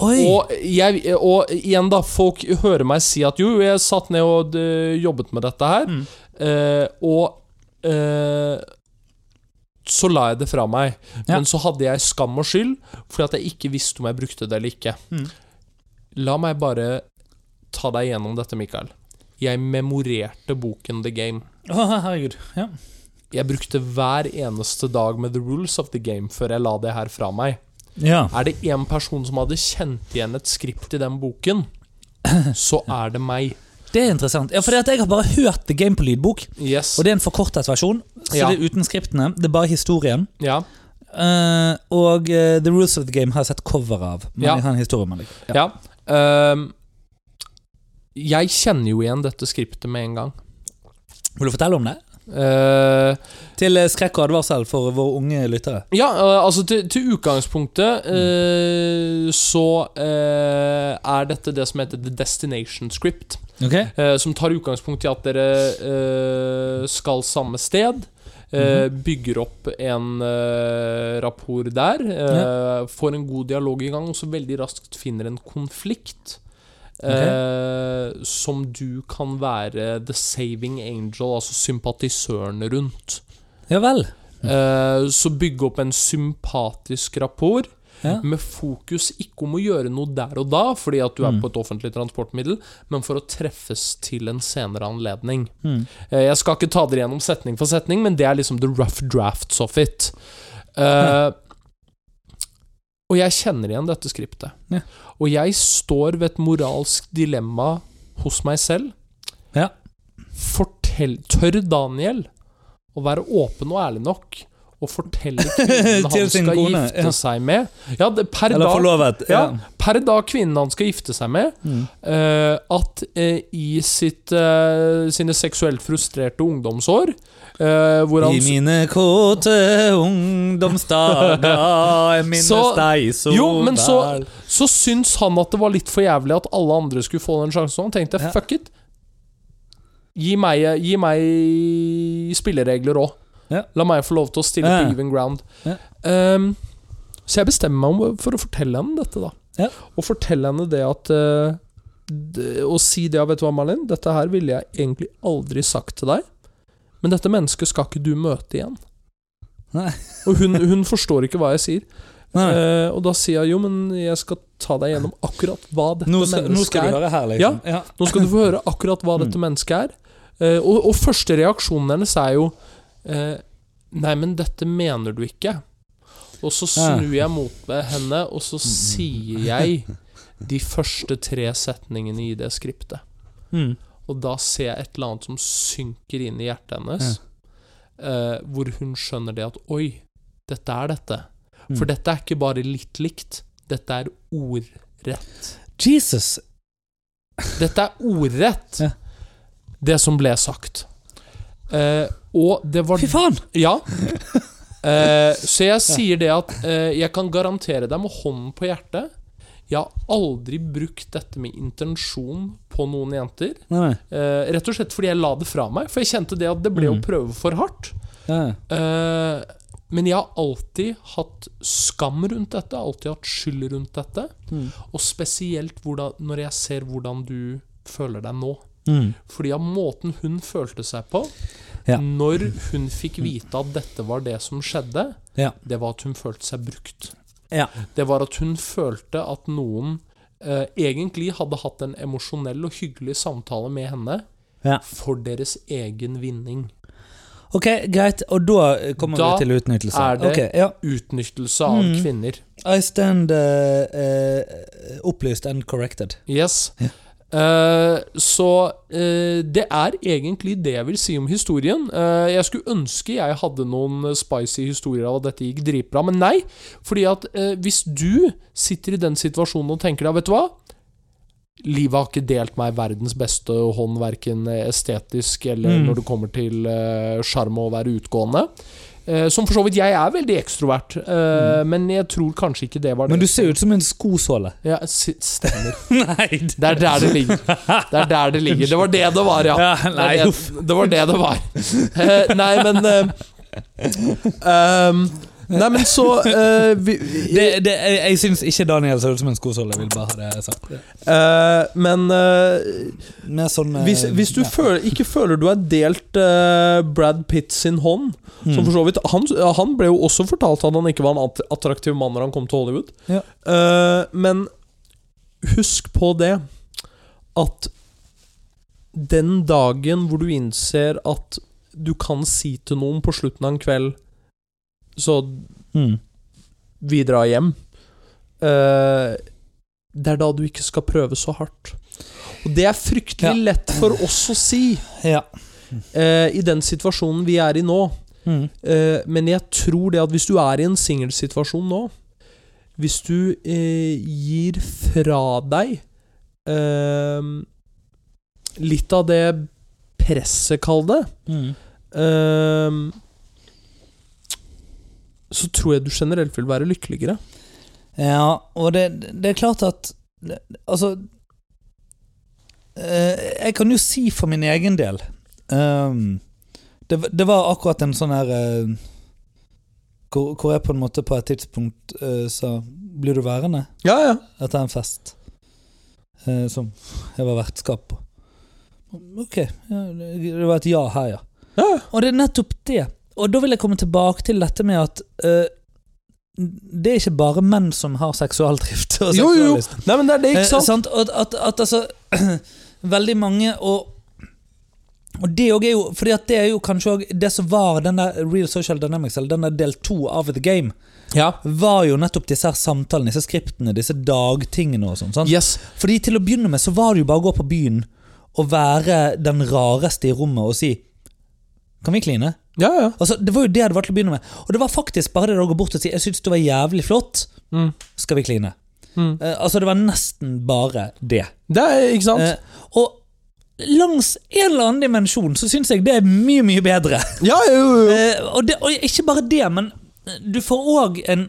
A: Oi!
B: Og, jeg, og igjen, da. Folk hører meg si at jo, jeg satt ned og eh, jobbet med dette her.
A: Mm.
B: eh, og eh, så la jeg det fra meg.
A: Ja.
B: Men så hadde jeg skam og skyld fordi at jeg ikke visste om jeg brukte det eller ikke.
A: Mm.
B: La meg bare ta deg gjennom dette, Mikael. Jeg memorerte boken The Game.
A: Å, herregud. Ja.
B: Jeg brukte hver eneste dag med The Rules of the Game før jeg la det her fra meg.
A: ja.
B: Er det én person som hadde kjent igjen et skript i den boken, så er det meg.
A: Det er interessant. Ja, fordi at Jeg har bare hørt The Game på lydbok,
B: Yes.
A: og det er en forkortet versjon. Så
B: Ja.
A: det er uten skriptene. Det er bare historien.
B: Ja.
A: Eh, og eh, The Rules of the Game har jeg sett cover av. Men
B: Ja.
A: jeg har en historie man liker.
B: ja. Ehm, jeg kjenner jo igjen dette skriptet med en gang.
A: Vil du fortelle om det?
B: Eh,
A: Til eh, skrekk og advarsel for våre unge lyttere.
B: ja, eh, altså til, til
A: Mm.
B: utgangspunktet eh, så eh, er dette det som heter the destination script.
A: Ok?
B: Eh, som tar utgangspunkt i at dere eh, skal samme sted. eh, Bygger opp en eh, rapport der. eh, Får en god dialog i gang, og så veldig raskt finner en konflikt. eh, som du kan være the saving angel, altså sympatisøren rundt.
A: Ja vel.
B: Eh, så bygge opp en sympatisk rapport.
A: Ja.
B: Med fokus ikke om å gjøre noe der og da, fordi at du er på et offentlig transportmiddel, men for å treffes til en senere anledning.
A: Mm.
B: Eh, Jeg skal ikke ta dere gjennom setning for setning, men det er liksom the rough drafts of it. Eh, og jeg kjenner igjen dette skriptet.
A: Ja.
B: Og jeg står ved et moralsk dilemma hos meg selv.
A: Ja.
B: Fortell, tør Daniel å være åpen og ærlig nok og
A: *laughs*
B: fortelle kvinnen
A: Til
B: han
A: sin
B: skal
A: kone,
B: gifte
A: ja.
B: seg med ja, det, per,
A: Eller
B: da,
A: forlovet.
B: ja, per da kvinnen han skal gifte seg med,
A: Mm.
B: eh, at eh, i sitt, eh, sine seksuelt frustrerte ungdomsår eh, hvor han,
A: I mine kåte ungdomsdager
B: *laughs*
A: Jeg minnes
B: Så-
A: deg så
B: Jo, men så-
A: vel.
B: Så syns han at det var litt for jævlig at alle andre skulle få den sjansen. og Han tenkte
A: Ja.
B: fuck it. Gi meg, gi meg spilleregler òg.
A: Ja.
B: La meg få lov til å stille
A: Ja.
B: på even ground.
A: Ja.
B: Ehm, så jeg bestemmer meg om- for å fortelle henne dette, da.
A: Ja.
B: Og fortelle henne det at eh, d- Å si det, ja, vet du hva, Malin, dette her ville jeg egentlig aldri sagt til deg. Men dette mennesket skal ikke du møte igjen.
A: Nei.
B: Og hun, hun forstår ikke hva jeg sier.
A: Nei, nei.
B: Eh, og da sier jeg jo, men jeg skal ta deg gjennom akkurat hva dette
A: nå, skal, nå
B: mennesket
A: skal du
B: er.
A: høre Mm. her,
B: Ja.
A: liksom. Ja.
B: Nå skal du få høre akkurat hva dette mennesket er. Eh, og, og første reaksjonen hennes er jo eh, Nei, men dette mener du ikke. Og så snur jeg mot meg henne,
A: Mm.
B: og så sier jeg de første tre setningene i det skriptet.
A: Hmm.
D: Mm.
B: Og da ser jeg et eller annet som synker inn i hjertet hennes, eh, hvor hun skjønner det at Oi, dette er dette.
A: Mm.
B: For dette er ikke bare litt likt, dette er ordrett.
A: Jesus!
B: Dette er ordrett,
A: Ja.
B: det som ble sagt. Eh, og det var
A: Fy faen!
B: ja. Eh, så jeg sier det at eh, jeg kan garantere deg med hånden på hjertet Jeg har aldri brukt dette med intensjon på noen jenter.
A: Nei, nei.
B: Eh, rett og slett fordi jeg la det fra meg, for jeg kjente det at det ble å
D: Mm.
B: prøve for hardt.
A: Ja.
B: Eh, men jeg har alltid hatt skam rundt dette, alltid hatt skyld rundt dette.
A: Mm.
B: Og spesielt hvordan, når jeg ser hvordan du føler deg nå.
A: Mm.
B: Fordi av måten hun følte seg på
A: Ja.
B: Når hun fikk vite at dette var det som skjedde
A: Ja.
B: Det var at hun følte seg brukt
A: Ja.
B: Det var at hun følte at noen eh, Egentlig hadde hatt en emosjonell og hyggelig samtale med henne
A: Ja.
B: For deres egen vinning
A: Ok, greit. Og da kommer
B: Da
A: vi til utnyttelse.
B: er det-
A: Ok, ja.
B: Utnyttelse av
A: Mm.
B: kvinner
A: I stand eh, eh, opplyst and corrected.
B: Yes Eh, så eh, det er egentlig det jeg vil si om historien. Eh, jeg skulle ønske jeg hadde noen eh, spicy historier av at dette gikk dritbra, men nei. Fordi at eh, hvis du sitter i den situasjonen og tenker deg, vet du hva Livet har ikke delt meg verdens beste hånd, verken estetisk eller
A: Mm.
B: når det kommer til eh, sjarm og å være utgående. Eh, som for så vidt, jeg er veldig ekstrovert, eh, men jeg tror kanskje ikke det var
A: Mm.
B: det.
A: Men du ser ut som en skosåle.
B: ja, si- stemmer.
A: *laughs* nei! det-
B: Det er der det ligger. Det er der det ligger. Det var det det var, ja.
A: Ja,
B: Det,
A: nei,
B: er
A: uff.
B: det, det var det det var. Eh, nei, men eh, um, Nei, men så eh, vi,
A: Det, det, jeg jeg syns ikke Daniel ser ut som en skosåle. Jeg vil bare ha det sagt.
B: eh, Men eh,
A: Mer sånn eh,
B: hvis, hvis du
A: ja.
B: føler, ikke føler du er delt eh, Brad Pitt sin hånd
A: Mm.
B: Som for så vidt han, han ble jo også fortalt at han ikke var en att- attraktiv mann når han kom til Hollywood.
A: Ja.
B: Eh, men husk på det at den dagen hvor du innser at du kan si til noen på slutten av en kveld Så
A: Mm.
B: vi drar hjem. Eh, det er da du ikke skal prøve så hardt. Og det er fryktelig
A: Ja.
B: lett for oss å si
A: Ja.
B: eh, i den situasjonen vi er i nå.
A: Mm.
B: Eh, men jeg tror det at hvis du er i en singelsituasjon nå Hvis du eh, gir fra deg eh, litt av det presset, kall det
A: Mm.
B: eh, Så tror jeg du generelt vil være lykkeligere.
A: Ja, og det, det er klart at det- Altså eh, Jeg kan jo si for min egen del ehm, det, v- det var akkurat en sånn her eh, hvor, hvor jeg på en måte på et tidspunkt eh, sa 'Blir du værende?'
B: Ja, ja.
A: etter en fest eh, som jeg var vertskap på. Ok, ja, det det var et ja her, ja.
B: ja.
A: Og det er nettopp det. Og da vil jeg komme tilbake til dette med at eh, det er ikke bare menn som har seksualdrift. Og
B: Jo, jo, jo.
A: seksuallyst.
B: Nei, men det er det,
A: Eh,
B: ikke sant?
A: sant? At, at, at altså *clears throat* Veldig mange og og det òg er jo Fordi at det er jo kanskje òg det som var den der Real Social Dynamics, eller den der del to av The Game,
B: Ja.
A: var jo nettopp disse her samtalene, disse skriptene, disse dagtingene og sånn. sant?
B: Yes.
A: Fordi til å begynne med så var det jo bare å gå på byen og være den rareste i rommet og si Kan vi kline?
B: Ja, ja.
A: Altså, Det var jo det det var til å begynne med. Og det var faktisk bare det å gå bort og si Jeg syns du var jævlig flott.
B: Mm.
A: Skal vi kline?
B: Mm.
A: Eh, altså, det var nesten bare det.
B: Det er ikke sant?
A: Eh, og langs en eller annen dimensjon så syns jeg det er mye, mye bedre.
B: ja, jo, jo, jo.
A: Eh, og, det, og ikke bare det, men eh, du får òg en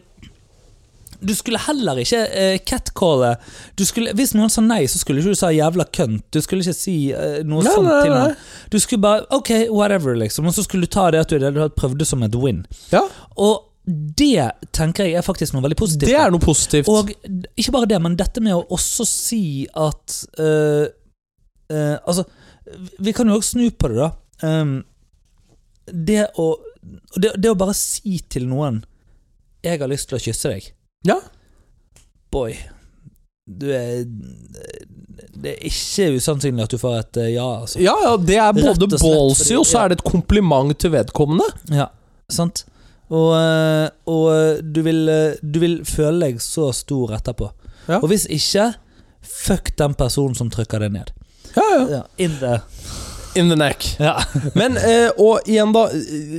A: Du skulle heller ikke eh, catcalle du skulle, Hvis noen sa nei, så skulle ikke du sa 'jævla kønt'. Du skulle ikke si eh, noe
B: Nei,
A: sånt
B: nei,
A: til
B: nei.
A: noen. Du skulle bare 'ok, whatever', liksom. Og så skulle du ta det at du, det du hadde prøvd det som et win.
B: Ja,
A: Og det tenker jeg er faktisk noe veldig positivt.
B: det er noe positivt.
A: Og d- ikke bare det, men dette med å også si at øh, øh, Altså, vi kan jo også snu på det, da. Ehm, det å og det, det å bare si til noen 'Jeg har lyst til å kysse deg'.
B: Ja.
A: Boy. Du er Det er ikke usannsynlig at du får et øh, ja, altså.
B: ja, ja, det er
A: Rett og
B: både
A: slett,
B: ballsy,
A: fordi-
B: og så er det et kompliment til vedkommende.
A: Ja, sant? Og, eh, og du, vil, eh, du vil føle deg så stor etterpå.
B: Ja.
A: Og hvis ikke, fuck den personen som trykker deg ned.
B: Ja, ja.
A: Ja, in the
B: In the neck.
A: ja.
B: Men, eh, og igjen da,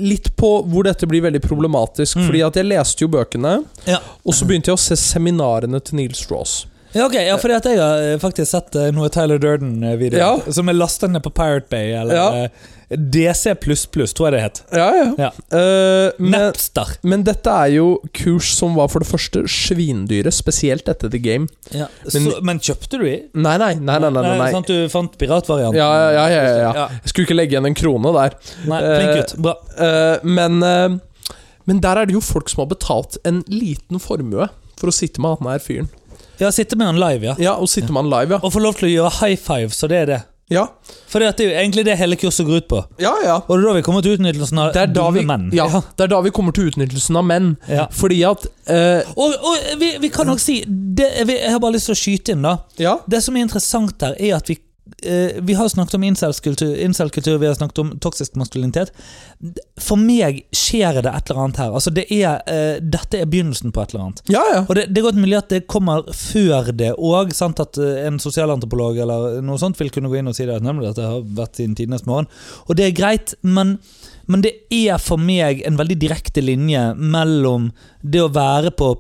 B: litt på hvor dette blir veldig problematisk.
A: Mm.
B: Fordi at jeg leste jo bøkene,
A: Ja.
B: og så begynte jeg å se seminarene til Neil Strauss.
A: Ja, ok, ja, fordi at jeg har eh, faktisk sett eh, noe Tyler Durden-video
B: Ja.
A: som er lastet ned på Pirate Bay, eller
B: Ja.
A: eh, DC++, tror jeg det het.
B: Ja, ja. Eh, men,
A: Napster.
B: men dette er jo kurs som var for det første svindyre, spesielt etter The Game.
A: Ja. Men,
B: Men-
A: så, men kjøpte du de?
B: Nei, nei, nei. nei, nei, nei, nei.
A: Sånn at du fant piratvarianten?
B: Ja, ja, ja, ja, ja.
A: Ja.
B: Jeg skulle ikke legge igjen en krone der.
A: Nei, flink gutt. Bra.
B: Eh, men, eh, men der er det jo folk som har betalt en liten formue for å sitte med han her fyren.
A: Ja, sitte med han live, ja.
B: Ja, og sitte med han live, ja.
A: Og få lov til å gjøre high five, så det er det.
B: Ja,
A: For det at det er jo egentlig det hele kurset går ut på.
B: ja. ja.
A: Og det er da vi kommer til utnyttelsen av
B: Det er, da vi,
A: dumme menn.
B: ja, det er da vi kommer til utnyttelsen av menn.
A: Ja.
B: Fordi at eh,
A: Og, og vi, vi kan nok si det, vi, Jeg har bare lyst til å skyte inn, da.
B: Ja.
A: Det som er interessant her, er at vi eh, vi har snakket om incel-kultur, incel-kultur, vi har snakket om toksisk maskulinitet. For meg skjer det et eller annet her. Altså det er, eh, dette er begynnelsen på et eller annet.
B: Ja, ja.
A: Og det, det er godt mulig at det kommer før det òg. At eh, en sosialantropolog eller noe sånt vil kunne gå inn og si det. at Nemlig at det har vært siden tidenes morgen. Og det er greit, men, men det er for meg en veldig direkte linje mellom det å være på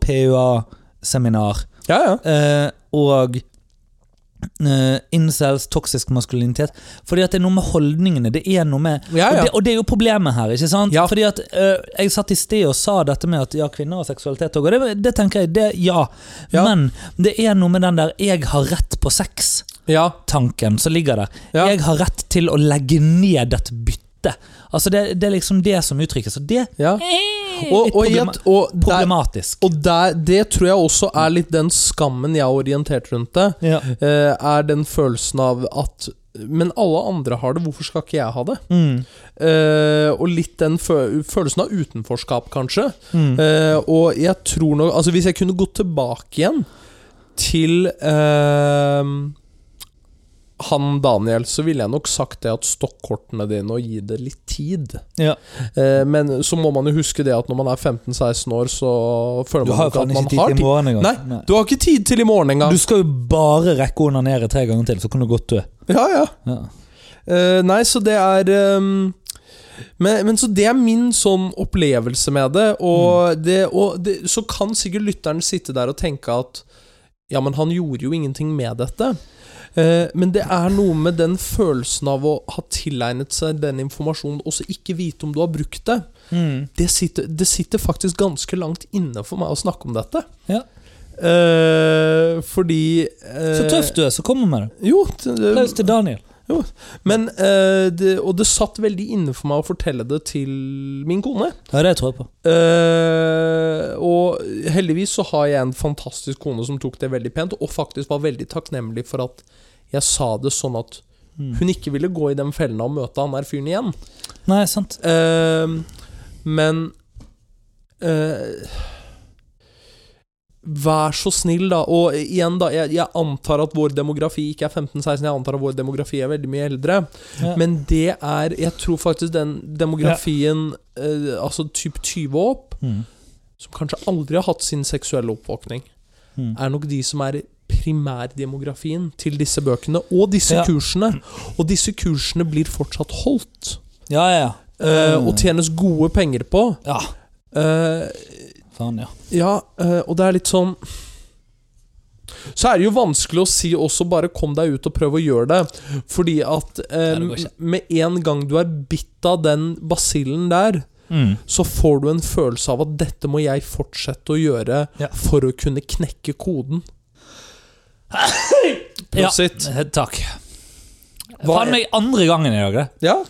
A: PUA-seminar
B: ja, ja.
A: eh, og eh, incels, toksisk maskulinitet. Fordi at det er noe med holdningene. Det er noe med
B: Ja, ja.
A: Og, det, og det er jo problemet her. ikke sant?
B: Ja.
A: Fordi at eh, Jeg satt i sted og sa dette med at ja, kvinner har seksualitet òg, og det, det tenker jeg. det, ja.
B: Ja.
A: Men det er noe med den der 'jeg har rett på sex'
B: ja.
A: tanken som ligger der.
B: Ja.
A: Jeg har rett til å legge ned et bytte. Altså Det, det er liksom det som uttrykkes, og det er
B: ja. Og,
A: litt
B: og, i
A: problema-
B: et- og, der,
A: problematisk.
B: og der, det tror jeg også er litt den skammen jeg har orientert rundt det.
A: Ja.
B: eh, er den følelsen av at Men alle andre har det, hvorfor skal ikke jeg ha det?
A: Mm.
B: Eh, og litt den fø følelsen av utenforskap, kanskje.
A: Mm.
B: Eh, og jeg tror nok Altså, hvis jeg kunne gått tilbake igjen til eh, han Daniel, så ville jeg nok sagt det at stokkortene dine og gi det litt tid.
A: Ja.
B: Eh, men så må man jo huske det at når man er 15-16 år, så føler
A: Du
B: man
A: har jo
B: ikke at
A: faen ikke
B: man
A: tid
B: har
A: til i
B: tid.
A: morgen engang.
B: Nei, du har ikke tid til i morgen engang.
A: Du skal jo bare rekke å onanere tre ganger til, så kan du godt dø.
B: Ja, ja.
A: Ja.
B: Eh, nei, så det er ehm, men, men så det er min sånn opplevelse med det. Og,
A: Mm.
B: det, og det, så kan sikkert lytteren sitte der og tenke at Ja, men han gjorde jo ingenting med dette. Eh, men det er noe med den følelsen av å ha tilegnet seg den informasjonen, og så ikke vite om du har brukt det.
A: Mm.
B: Det sitter, det sitter faktisk ganske langt inne for meg å snakke om dette.
A: Ja.
B: Eh, fordi eh,
A: Så tøff du er, så kommer med det.
B: Jo, t-
A: Applaus til Daniel.
B: men, eh, det, og det satt veldig inne for meg å fortelle det til min kone.
A: Ja, det tror jeg på.
B: Eh, og heldigvis så har jeg en fantastisk kone som tok det veldig pent, og faktisk var veldig takknemlig for at jeg sa det sånn at
A: Mm.
B: hun ikke ville gå i den fellen av å møte han der fyren igjen.
A: Nei, sant.
B: Eh, men eh, Vær så snill, da. Og igjen, da. Jeg, jeg antar at vår demografi ikke er 15-16, jeg antar at vår demografi er veldig mye eldre.
A: Ja.
B: Men det er Jeg tror faktisk den demografien, eh, altså typ 20 og opp,
A: Mm.
B: som kanskje aldri har hatt sin seksuelle oppvåkning,
A: Mm.
B: er nok de som er primærdemografien til disse bøkene og disse
A: Ja.
B: kursene. Og disse kursene blir fortsatt holdt.
A: Ja, ja,
B: Eh,
A: Mm.
B: og tjenes gode penger på.
A: ja. Ja,
B: Eh,
A: faen, ja.
B: ja, eh, og det er litt sånn Så er det jo vanskelig å si også bare kom deg ut og prøv å gjøre det. Fordi at eh,
D: Nei, det går ikke.
B: med en gang du er bitt av den basillen der, så får du en følelse av at dette må jeg fortsette å gjøre
A: Ja.
B: for å kunne knekke koden. Prosit.
A: Ja, Eh, takk.
B: Hva
A: Faen
B: er-
A: meg andre gangen i dag, det.
B: Ja.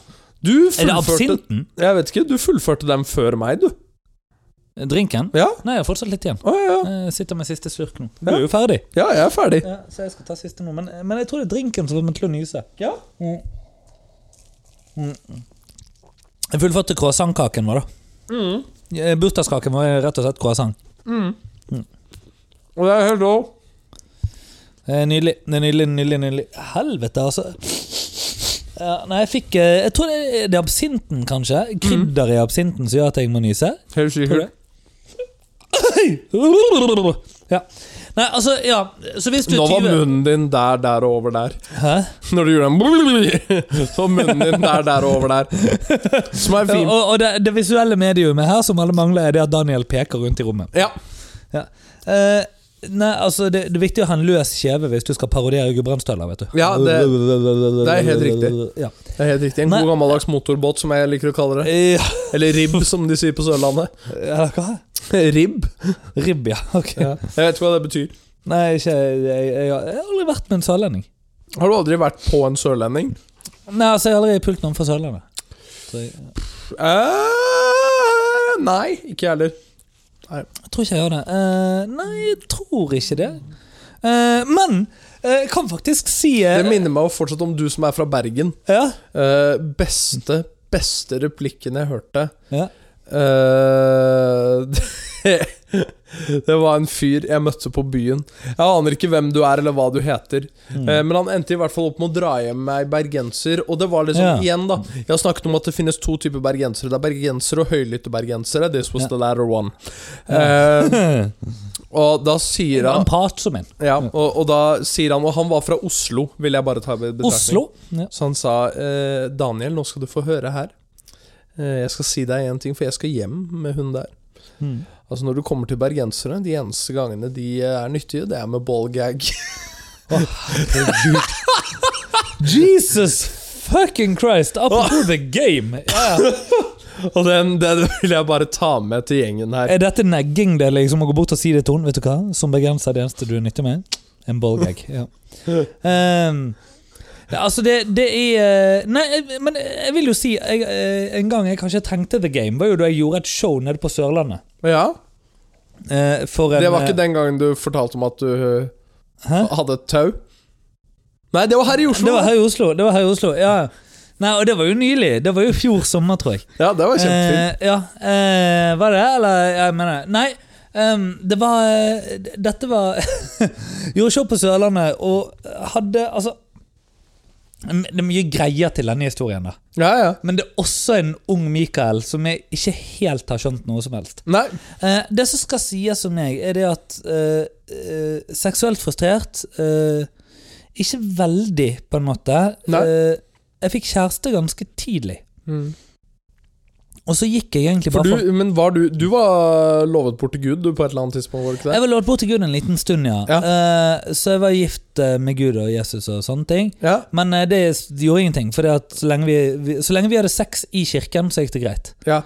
B: Du
A: Er det
B: fullførte
A: absinten?
B: Jeg vet ikke, du fullførte dem før meg, du.
A: Drinken?
B: Ja.
A: Nei, jeg har fortsatt litt igjen.
B: Å, ja, ja.
A: Jeg sitter med siste slurk nå. Du
B: Ja.
A: er jo ferdig.
B: ja, jeg er ferdig.
A: Ja, så jeg skal ta siste nå. Men, men jeg tror det er drinken som får meg til å nyse.
B: Ja.
A: Mm. Jeg fullførte croissantkaken vår, da.
B: Mm.
A: Eh, Bursdagskaken var rett og slett croissant.
B: Og det er helt lov.
A: Eh, Det er Nydelig. det er Nydelig, nydelig, nydelig. Helvete, altså. Ja, nei, jeg fikk eh, Jeg tror det er- det er absinten,
B: Mhm.
A: kanskje. Krydder i absinten som gjør at jeg må nyse.
B: Helt sikkert.
A: Ja. Nei, altså, ja Så hvis du
B: Nå var
A: 20
B: munnen din der, der og over der.
A: Hæ?
B: Når du gjorde den Så var munnen din der, der og over der. Som er fin.
A: Og, og det, det visuelle mediumet her som alle mangler, er det at Daniel peker rundt i rommet.
B: Ja.
A: Eh, nei, altså, det, det er viktig å ha en løs kjeve hvis du skal parodiere Gudbrandsdøler, vet du.
B: Ja, det-
A: det
B: er helt riktig.
A: Ja.
B: Det er helt riktig. En
A: Nei.
B: god gammeldags motorbåt, som jeg liker å kalle det. *laughs*
A: Ja,
B: Eller ribb, som de sier på Sørlandet.
A: eller hva?
B: Ribb?
A: Ribb, ja. Ok.
B: Jeg vet ikke hva det betyr.
A: Nei, ikke, jeg, jeg, jeg har aldri vært med en sørlending.
B: Har du aldri vært på en sørlending?
A: Nei, altså, jeg har aldri pult noen fra Sørlandet. Så jeg,
B: Eh, nei, ikke jeg heller.
A: jeg tror ikke jeg gjør det. Eh, nei, jeg tror ikke det. Eh, men eh, jeg kan faktisk si eh,
B: Det minner meg jo fortsatt om du som er fra Bergen.
A: ja,
B: Eh, beste, beste replikken jeg hørte
A: Ja.
B: Eh, *laughs* det, det var en fyr jeg møtte på byen. Jeg aner ikke hvem du er, eller hva du heter.
A: Mm.
B: Eh, men han endte i hvert fall opp med å dra hjem med ei bergenser. Og det var liksom
A: Ja.
B: igjen da Jeg har snakket om at det finnes to typer bergensere. Det er bergensere og høylytte bergensere. This was
A: Ja.
B: the latter one. Eh, og da sier
A: *laughs* Han
B: han
A: prater som en.
B: ja, og, og da sier han Og han var fra Oslo, vil jeg bare ta i betraktning.
A: Oslo. Ja.
B: Så han sa eh, Daniel, nå skal du få høre her. Eh, jeg skal si deg en ting, for jeg skal hjem med hun der.
A: Mm.
B: Altså Når du kommer til bergensere, de eneste gangene de eh, er nyttige, det er med ballgag.
A: Jesus fucking Christ! Apropos the game. Ja.
B: *laughs* og den, den vil jeg bare ta med til gjengen her.
A: Er dette negging det liksom å gå bort og si det til henne? Vet du hva? Som begrenser det eneste du er nyttig med? En ballgag.
B: *laughs*
A: Ja. Ehm, ja, altså, det, det er eh, Nei, jeg- men jeg vil jo si jeg, eh, En gang jeg kanskje tenkte The Game, var jo da jeg gjorde et show nede på Sørlandet.
B: Ja,
A: Eh, for en
B: Det var ikke
A: eh,
B: den gangen du fortalte om at du eh,
A: Hæ?
B: hadde et tau? Nei, det var her i Oslo.
A: Det var her i Oslo. Det var her i Oslo, ja ja. Nei, og det var jo nylig. Det var jo i fjor sommer, tror jeg.
B: Ja, det var kjempefint.
A: Eh, ja, eh, var det det, eller jeg mener Nei, ehm, det var eh, d- Dette var *laughs* Gjorde show på Sørlandet og hadde altså m- Det er mye greier til denne historien, da.
B: Ja, ja.
A: Men det er også en ung Mikael som jeg ikke helt har skjønt noe som helst.
B: Nei,
A: Eh, det som skal sies om meg, er det at eh, eh, seksuelt frustrert eh, Ikke veldig, på en måte.
B: Nei.
A: Eh, jeg fikk kjæreste ganske tidlig. Og så gikk jeg egentlig
B: for
A: bare
B: du, men var du Du var lovet bort til Gud du, på et eller annet tidspunkt? Var det ikke det?
A: Jeg var lovet bort til Gud en liten stund, ja.
B: Ja.
A: Eh, så jeg var gift eh, med Gud og Jesus og sånne ting.
B: Ja,
A: Men eh, det s- gjorde ingenting, for så, lenge vi, vi, så lenge vi hadde sex i kirken, så gikk det greit.
B: ja.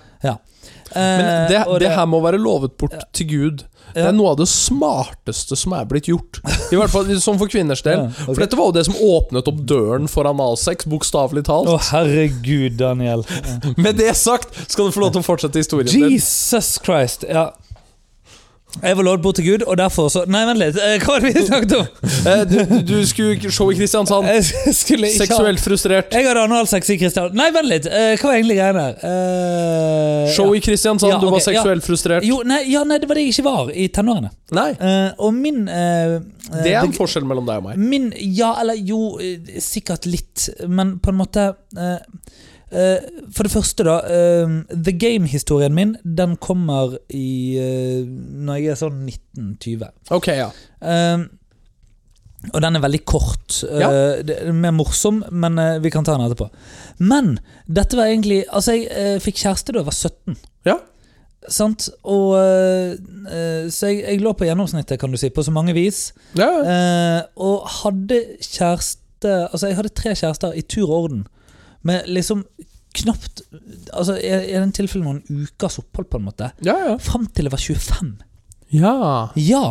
A: Eh,
B: Men det,
A: og
B: det her må være lovet bort til Gud. Det
A: Ja.
B: er noe av det smarteste som er blitt gjort.
A: *laughs*
B: I hvert fall sånn for kvinners del.
A: Ja, ok.
B: For dette var jo det som åpnet opp døren for analsex, bokstavelig
A: Å,
B: talt.
A: herregud, Daniel. Ja.
B: Med *laughs* det sagt skal du få lov til å fortsette historien din.
A: Jesus Christ, ja. Jeg var lovet bort til Gud, og derfor så Nei, vent litt. eh, Hva var det vi snakket
B: *laughs*
A: om?
B: Eh, Du, du- du skulle show i Kristiansand.
A: Jeg skulle Eh, ikke Eh, ha-
B: Seksuelt frustrert.
A: Jeg hadde analsex i kristall. Nei, vent litt. eh, Hva var egentlig greia der? Eh,
B: Show
A: ja.
B: i Kristiansand,
A: Ja,
B: du var
A: ok, ja.
B: seksuelt frustrert.
A: Jo, nei, ja, nei, det var det jeg ikke var i tenårene.
B: Nei,
A: Eh, og min eh, eh,
B: det er en
A: beg-
B: forskjell mellom deg og meg.
A: Min Ja, eller jo, eh, sikkert litt, men på en måte eh, eh, For det første, da. eh, The Game-historien min, den kommer i eh, Når jeg er sånn 1920.
B: Ok, ja.
A: Eh, og den er veldig kort. Eh, det er mer morsom, men eh, vi kan ta den etterpå. Men dette var egentlig Altså, jeg eh, fikk kjæreste da jeg var 17.
B: Ja.
A: Sant? Og eh, eh, Så jeg, jeg lå på gjennomsnittet, kan du si, på så mange vis.
B: ja. ja.
A: Eh, og hadde kjæreste Altså, jeg hadde tre kjærester i tur og orden, men liksom knapt Altså, i i den tilfellet noen ukers opphold, på en måte.
B: Ja, ja.
A: Fram til jeg var 25.
B: ja.
A: Ja,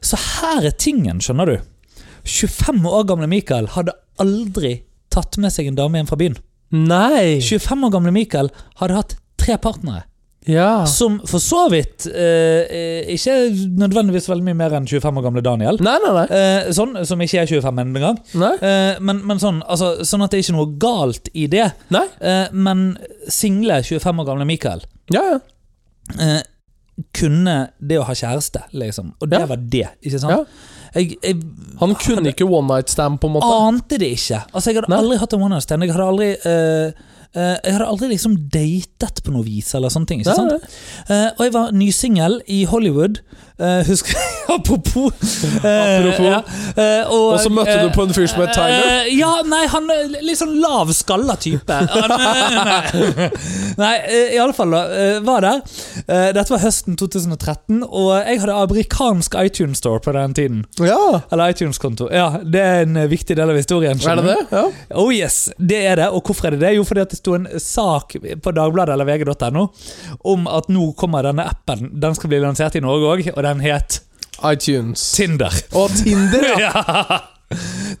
A: så her er tingen, skjønner du. 25 år gamle Mikael hadde aldri tatt med seg en dame hjem fra byen.
B: Nei.
A: 25 år gamle Mikael hadde hatt tre partnere,
B: Ja.
A: som for så vidt eh, eh, ikke er nødvendigvis veldig mye mer enn 25 år gamle Daniel.
B: Nei, nei, nei.
A: Eh, sånn, som ikke er 25 engang.
B: Nei.
A: Eh, men men sånn, altså, sånn at det er ikke noe galt i det.
B: nei.
A: Eh, men single 25 år gamle Mikael
B: Ja, ja.
A: eh, kunne det å ha kjæreste, liksom. Og det
B: Ja.
A: var det, ikke sant? Jeg, jeg
B: Han kunne ikke one night stand, på en måte.
A: ante det ikke. Altså, jeg hadde
B: Nei.
A: aldri hatt en one night stand. Jeg hadde aldri eh, eh, Jeg hadde aldri liksom datet på noe vis, eller sånne ting. Ikke
B: Nei,
A: sant?
B: nei.
A: Eh, og jeg var nysingel i Hollywood. Eh, husker *laughs*
B: *laughs*
A: Apropos. Eh,
B: Apropos. Og så møtte du på en fyr som het Tyler.
A: eh, ja, nei, han er litt sånn lav skalla
B: *laughs*
A: type. Han, eh, nei, eh, i alle fall da, eh, var der. Eh, Dette var høsten 2013, og jeg hadde amerikansk iTunes Store på den tiden.
B: Ja,
A: Eller iTunes-konto. Ja, Det er en eh, viktig del av historien.
B: er
A: skjønner
B: det
A: du?
B: det? Ja.
A: Oh yes, det er det. Og hvorfor er det det? Jo, fordi at det sto en sak på Dagbladet eller vg.no om at nå kommer denne appen. Den skal bli lansert i Norge òg, og den het
B: iTunes.
A: Tinder.
B: Og Tinder, *laughs* ja!
A: Ja.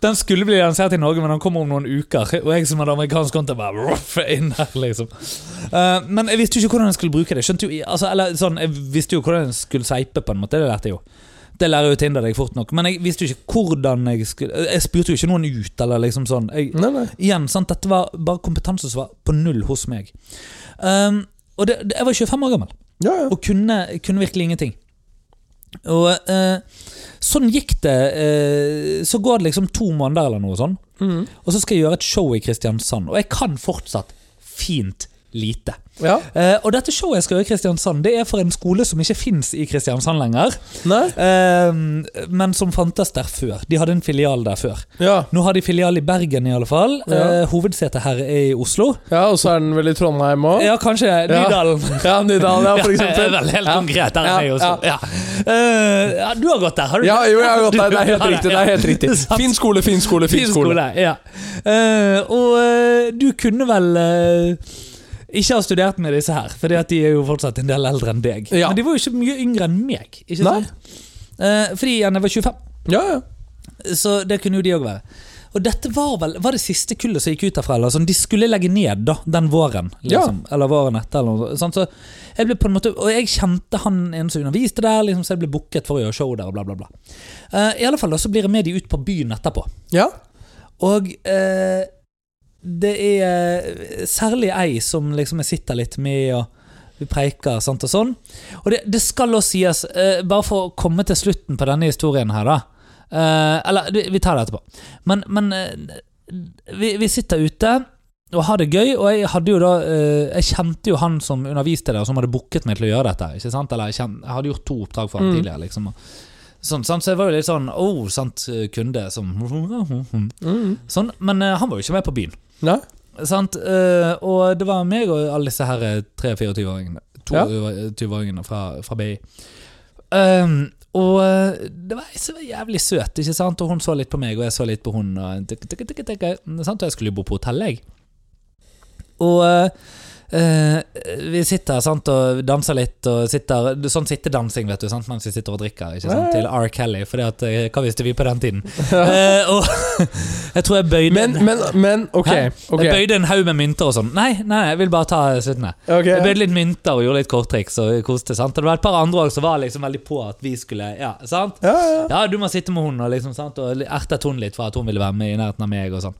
A: Den skulle bli lansert i Norge, men den kommer om noen uker. Og jeg som hadde amerikansk konto, bare ruff, inn her, liksom. Eh, men jeg visste jo ikke hvordan jeg skulle bruke det. Skjønte jo, altså, eller sånn, Jeg visste jo hvordan jeg skulle seipe, på en måte. Det lærte jeg jo. Det lærer jo Tinder deg fort nok. Men jeg visste jo ikke hvordan jeg skulle Jeg spurte jo ikke noen ut, eller liksom sånn. Jeg,
B: Nei, nei.
A: Igjen, sant? Dette var bare kompetanse som var på null hos meg. Ehm, og det, det, Jeg var 25 år gammel
B: Ja, ja.
A: og kunne, kunne virkelig ingenting. Og eh, Sånn gikk det. eh, så går det liksom to måneder eller noe sånn,
B: Mhm.
A: og så skal jeg gjøre et show i Kristiansand. Og jeg kan fortsatt fint lite.
B: ja.
A: Eh, og dette showet jeg skal gjøre i Kristiansand, det er for en skole som ikke fins i Kristiansand lenger,
B: Nei?
A: eh, men som fantes der før. De hadde en filial der før.
B: Ja.
A: Nå har de filial i Bergen, i alle fall.
B: Ja.
A: Eh, hovedsetet her er i Oslo.
B: ja, og så er den vel i Trondheim òg?
A: Ja, kanskje Nydalen.
B: Ja, Nydalen, ja, for
A: Ja,
B: eksempel.
A: vel, helt konkret. Der
B: Ja,
A: er jeg også. Ja. Eh, ja, du har gått der, har du?
B: Ja, jo, jeg har gått der. Det er helt
A: Ja,
B: riktig. det
A: ja.
B: er helt *laughs* riktig.
A: Sant.
B: Fin skole, fin skole, fin skole.
A: ja. Eh, og eh, du kunne vel eh, ikke ha studert med disse her, Fordi at de er jo fortsatt en del eldre enn deg.
B: Ja.
A: Men de var jo ikke mye yngre enn meg. Ikke
B: Nei.
A: sant? Eh, fordi igjen, jeg var 25,
B: Ja, ja.
A: så det kunne jo de òg være. Og dette var vel var det siste kullet som gikk ut derfra. Eller sånn, de skulle legge ned da, den våren. Liksom, Eller våren etter. Eller noe, sånt. så jeg ble på en måte, og jeg kjente han en som underviste der, liksom, så jeg ble booket for å gjøre show der. og bla bla bla. Eh, I alle fall da, så blir jeg med de ut på byen etterpå.
B: ja.
A: Og eh, det er eh, særlig ei som liksom jeg sitter litt med, og vi preiker sant og sånn. Og det, det skal også sies, eh, bare for å komme til slutten på denne historien her, da. Eh, eller du, vi tar det etterpå. Men, men eh, vi, vi sitter ute og har det gøy, og jeg hadde jo da eh, Jeg kjente jo han som underviste det, og som hadde booket meg til å gjøre dette. Ikke sant? Eller jeg, kjen, jeg hadde gjort to opptak for han
B: Mm.
A: tidligere, liksom. Og, sånn, sant? Så jeg var jo litt sånn oh, sant, kunde som
B: Mm.
A: Sånn, men eh, han var jo ikke med på byen.
B: Nei?
A: Sant? Eh, og det var meg og alle disse her eh, 23-24-åringene.
B: Ja.
A: 22-åringene eh, fra, fra BI. Ehm, og eh, det var ei som var jævlig søt, ikke sant? og hun så litt på meg, og jeg så litt på hun. Og, tikk, tikk, tikk, tikk, sant? og jeg skulle jo bo på hotell, jeg. Og eh, vi sitter sant, og danser litt, og sitter, sånn sittedansing vet du, sant? mens vi sitter og drikker ikke sant? til R. Kelly, for hva visste vi på den tiden?
B: *laughs*
A: Eh, og *laughs* jeg tror jeg bøyde
B: Men, men, men OK.
A: Hæ?
B: ok
A: Jeg bøyde en haug med mynter og sånn. Nei, nei, jeg vil bare ta slutten her.
B: Ok.
A: Jeg bøyde litt mynter og gjorde litt korttriks og koste. sant? Og Det var et par andre også som var liksom veldig på at vi skulle Ja, sant?
B: Ja, ja.
A: Ja, du må sitte med hun og liksom, sant? Og ertet hun litt for at hun ville være med i nærheten av meg og sånn.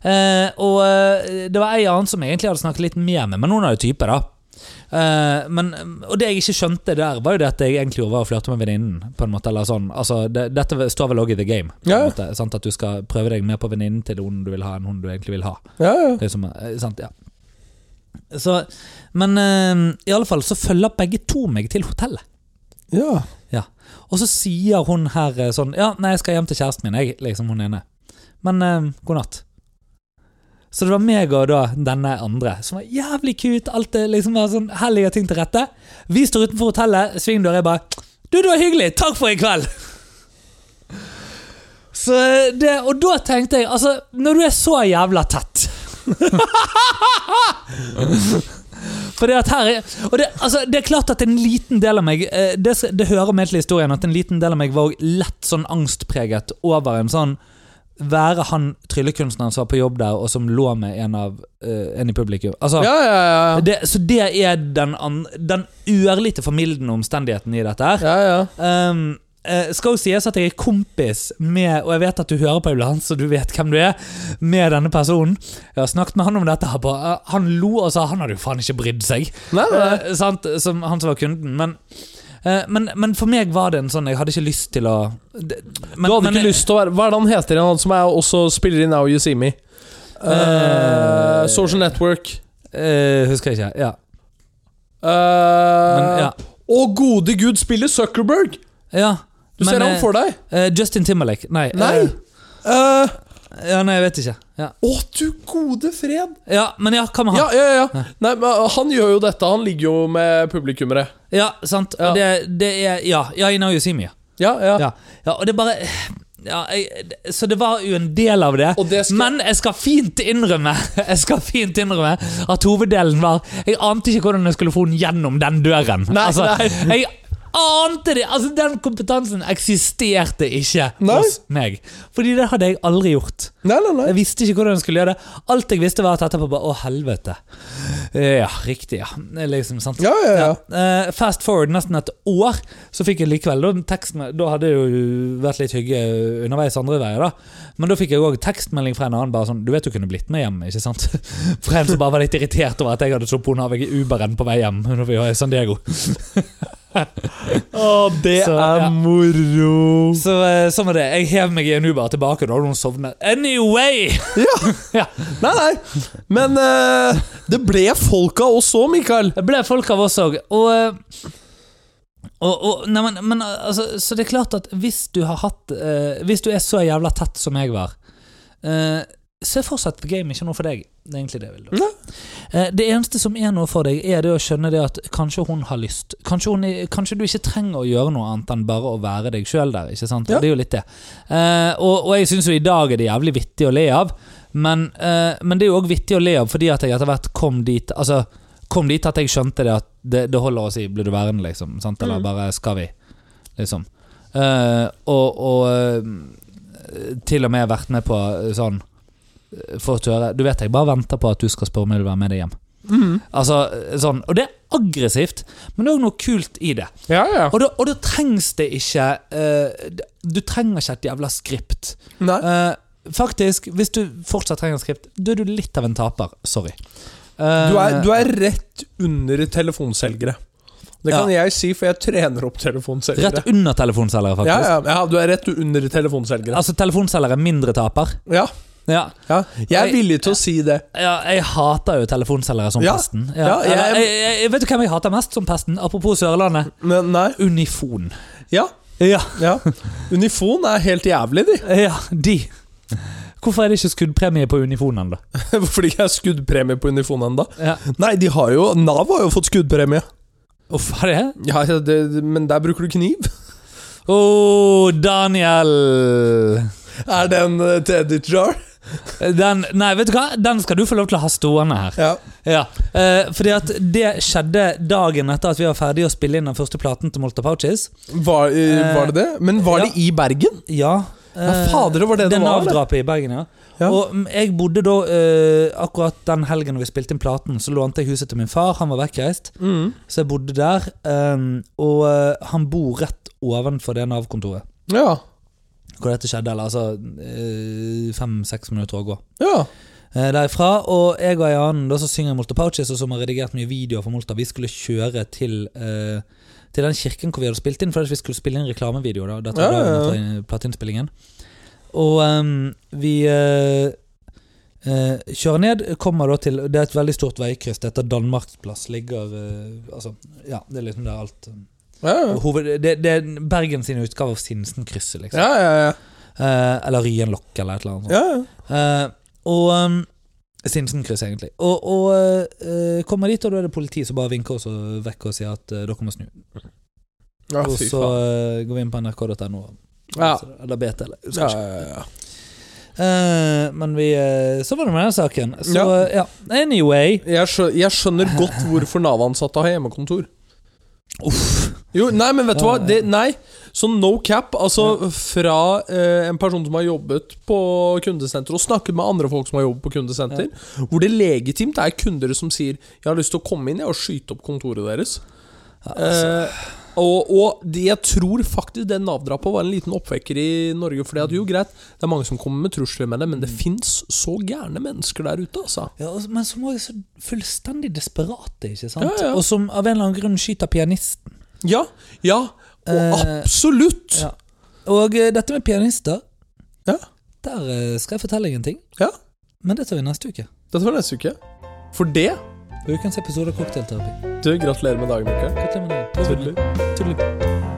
A: Eh, og eh, det var ei annen som jeg egentlig hadde snakket litt mer med, men hun er jo type, da. Eh, men, og det jeg ikke skjønte der, var jo det at jeg egentlig var og flørte med venninnen. på en måte, eller sånn. Altså, det, Dette står vel òg i the game. på en
B: Ja.
A: måte, sant? At du skal prøve deg mer på venninnen til hun du vil ha, enn hun du egentlig vil ha.
B: ja, ja.
A: Det er som, eh, sant, ja. Så, men eh, i alle fall så følger begge to meg til hotellet.
B: ja.
A: Og så sier hun her eh, sånn Ja, nei, jeg skal hjem til kjæresten min, jeg. Liksom hun ene. Men eh, god natt. Så det var meg og da denne andre, som var jævlig cute. Alt det liksom var sånn Her ligger ting til rette. Vi står utenfor hotellet, svingdør. Jeg bare Du, det var hyggelig! Takk for i kveld! Så det, Og da tenkte jeg, altså Når du er så jævla tett *laughs* Fordi at her er, og det, altså, det er klart at en liten del av meg eh, det, s- det hører med til historien at en liten del av meg var lett sånn angstpreget over en sånn Være han tryllekunstneren som var på jobb der, og som lå med en av eh, en i publikum. Altså,
B: ja, ja, ja.
A: det, så det er den, an, den ørlite formildende omstendigheten i dette her.
B: ja, ja.
A: Um, eh, skal jo sies at jeg er kompis med Og jeg vet at du hører på iblant, så du vet hvem du er. Med denne personen. Jeg har snakket med han om dette. her på eh, Han lo og sa han hadde jo faen ikke brydd seg.
B: Nei, nei.
A: Eh, sant? Som han som var kunden. Men Eh, men, men for meg var det en sånn Jeg hadde ikke lyst til å det- men-
B: du hadde
A: men-
B: ikke lyst til å være Hva er det han heter igjen, han som er også spiller i Now You See Me? Eh, Social Network.
A: Eh, Husker jeg ikke. Ja.
B: Eh,
A: Men, ja.
B: Å, gode gud, spiller Zuckerberg!
A: ja. eh,
B: Du ser han for deg.
A: Justin Timberlake. Nei.
B: Nei! Eh,
A: eh, ja, nei, jeg vet ikke. Ja,
B: Å, du gode fred!
A: ja men ja, hva med han?
B: Ja, ja, ja. Nei, men ah, han gjør jo dette. Han ligger jo med publikummere.
A: Ja, sant. Og Det, det er Ja, ja I know you see me. Ja.
B: Ja, ja.
A: Ja. ja, og det bare ja, jeg, Så det var jo en del av det.
B: Og det skal-
A: Men jeg skal fint innrømme *laughs* Jeg skal fint innrømme at hoveddelen var Jeg ante ikke hvordan jeg skulle få den gjennom den døren. Altså,
B: Nei,
A: Jeg ante det! Altså, Den kompetansen eksisterte ikke
B: Nei.
A: hos meg. Fordi det hadde jeg aldri gjort.
B: Nei, nei, nei.
A: Jeg visste ikke hvordan jeg skulle gjøre det. Alt jeg visste, var at etterpå bare Å, helvete. Ja, riktig, ja. Det er Liksom, sant?
B: Ja, ja, ja.
A: Eh, fast forward nesten et år, så fikk jeg likevel da, teksten, da hadde det jo vært litt hygge underveis andre veier, da. Men da fikk jeg òg tekstmelding fra en annen bare sånn Du vet du kunne blitt med hjem, ikke sant? *laughs* Fra en som bare var litt irritert over at jeg hadde sluppet henne av i Uberen på vei hjem. Når vi var i San Diego.
B: det
A: Så,
B: er
A: ja.
B: moro.
A: Så eh, sånn var det. Jeg hev meg i en Uber tilbake, da hadde hun sovnet. Anyway! ja.
B: Nei, nei. Men eh, det ble folk av oss òg, Mikael.
A: Det ble folk av oss òg. Og, eh, og, og nei, men, men, altså, Så det er klart at hvis du har hatt eh, Hvis du er så jævla tett som jeg var, eh, så er fortsatt The Game ikke noe for deg. Det er egentlig det jeg vil.
B: Nei.
A: Eh, det eneste som er noe for deg, er det å skjønne det at kanskje hun har lyst. Kanskje, hun, kanskje du ikke trenger å gjøre noe annet enn bare å være deg sjøl der. ikke sant?
B: Ja.
A: Det er jo litt det. Eh, og, og jeg syns jo i dag er det jævlig vittig å le av, men, eh, men det er jo òg vittig å le av fordi at jeg etter hvert kom dit altså, kom dit at jeg skjønte det at det, det holder å si 'blir du værende', liksom. Sant? Eller bare 'skal vi', liksom. Eh, og og eh, til og med vært med på eh, sånn eh, Fått høre Du vet jeg bare venter på at du skal spørre om jeg vil være med deg hjem. Altså, eh, sånn. Og det er aggressivt, men det er òg noe kult i det.
B: Ja, ja.
A: Og da, og da trengs det ikke eh, Du trenger ikke et jævla skript.
B: Nei.
A: Eh, faktisk, hvis du fortsatt trenger et skript, da er du litt av en taper. Sorry. Eh,
B: Du er, du er rett under telefonselgere. Det kan jeg si, for jeg trener opp telefonselgere.
A: Rett under telefonselgere,
B: Ja,
A: faktisk.
B: ja, ja, du er rett under telefonselgere.
A: Altså, telefonselgere er mindre taper.
B: Ja,
A: Ja.
B: ja. Jeg
A: Nei,
B: er villig til å si det.
A: ja, jeg hater jo telefonselgere som
B: Ja.
A: pesten.
B: Ja, jeg-
A: Eller, jeg, jeg, jeg vet du hvem jeg hater mest som pesten? Apropos Sørlandet.
B: Men nei.
A: Unifon.
B: Ja.
A: Ja,
B: ja. Unifon er helt jævlig, de.
A: ja, de. Hvorfor er det ikke skuddpremie på Unifon ennå?
B: *laughs* Hvorfor det ikke er skuddpremie på Unifon ennå?
A: Ja.
B: Nei, de har jo Nav har jo fått skuddpremie.
A: Uff, er det?
B: Ja, ja, det, Men der bruker du kniv.
A: Å, Daniel!
B: *laughs* Er det en eh, teddy jar?
A: Den, nei, vet du hva? Den skal du få lov til å ha stående her.
B: Ja.
A: Ja, eh, fordi at det skjedde dagen etter at vi var ferdige å spille inn den første platen til Molta Pouches.
B: Var, eh,
A: Eh,
B: var det det? Men var
A: ja.
B: det i Bergen?
A: Ja.
B: Ja,
A: eh,
B: fader, det var det det
A: den
B: var, det.
A: avdrapet i Bergen, ja.
B: Ja.
A: Og mm, jeg bodde da eh, akkurat den helgen vi spilte inn platen, så lånte jeg huset til min far. Han var vekkreist,
B: Mm.
A: så jeg bodde der. eh, og eh, han bor rett ovenfor det Nav-kontoret
B: Ja.
A: hvor dette skjedde. Eller altså fem-seks minutter å gå.
B: Ja.
A: eh, derifra. Og jeg og en annen da så synger Molta Pouches, og som har redigert mye videoer for Molta. Vi skulle kjøre til eh, Til den kirken hvor vi hadde spilt inn, for vi skulle spille inn reklamevideo. da Dette var
B: Ja, ja, ja.
A: dagen etter plateinnspillingen. Og ehm, vi eh, eh, kjører ned, kommer da til Det er et veldig stort veikryss. Det heter Danmarksplass. Ligger eh, Altså, ja, det er liksom der alt
B: Ja, ja.
A: hoved, det, det er Bergen sin utgave av Sinsenkrysset, liksom.
B: Ja, ja, ja.
A: Eh, eller Ryenlokk, eller et eller annet. sånt.
B: ja, ja.
A: Eh, og um, Sinsenkryss, egentlig. Og, og eh, kommer dit, og da er det politi som bare vinker oss og vekker og sier at eh, dere må snu.
B: Ja,
A: og
B: fy
A: så
B: faen.
A: eh, går vi inn på nrk.no.
B: Ja.
A: Eller BT, eller husker
B: Ja,
A: ikke.
B: ja, ja.
A: Eh, men vi eh, Så var det med den saken. Så ja.
B: Ja.
A: ja. Anyway.
B: Jeg, skjø jeg skjønner godt hvorfor Nav-ansatte har hjemmekontor.
A: Uff.
B: Jo, nei, men vet du hva?
A: Ja, ja.
B: Det, nei, så no cap. Altså fra eh, en person som har jobbet på kundesenter, og snakket med andre folk som har jobbet på kundesenter, hvor det legitimt er kunder som sier 'Jeg har lyst til å komme inn jeg, og skyte opp kontoret deres'. eh, og og de, jeg tror faktisk det Nav-drapet var en liten oppvekker i Norge. For det at jo, greit, det er mange som kommer med trusler med det, men
A: Mm.
B: det fins så gærne mennesker der ute, altså.
A: Ja, og- men som også er så fullstendig desperate, ikke sant?
B: Ja, ja.
A: Og som av en eller annen grunn skyter pianisten.
B: Ja, ja, og
A: Eh,
B: absolutt!
A: ja. Og eh, dette med pianister
B: Ja.
A: Der eh, skal jeg fortelle deg en ting.
B: Ja.
A: Men det tar vi neste uke.
B: Dette var neste uke. For det
A: Det er Ukens episode av Cocktailterapi.
B: Du, gratulerer med dagen, Mikael.
A: Gratulerer med dagen.
B: Tuller.
A: Tudelup.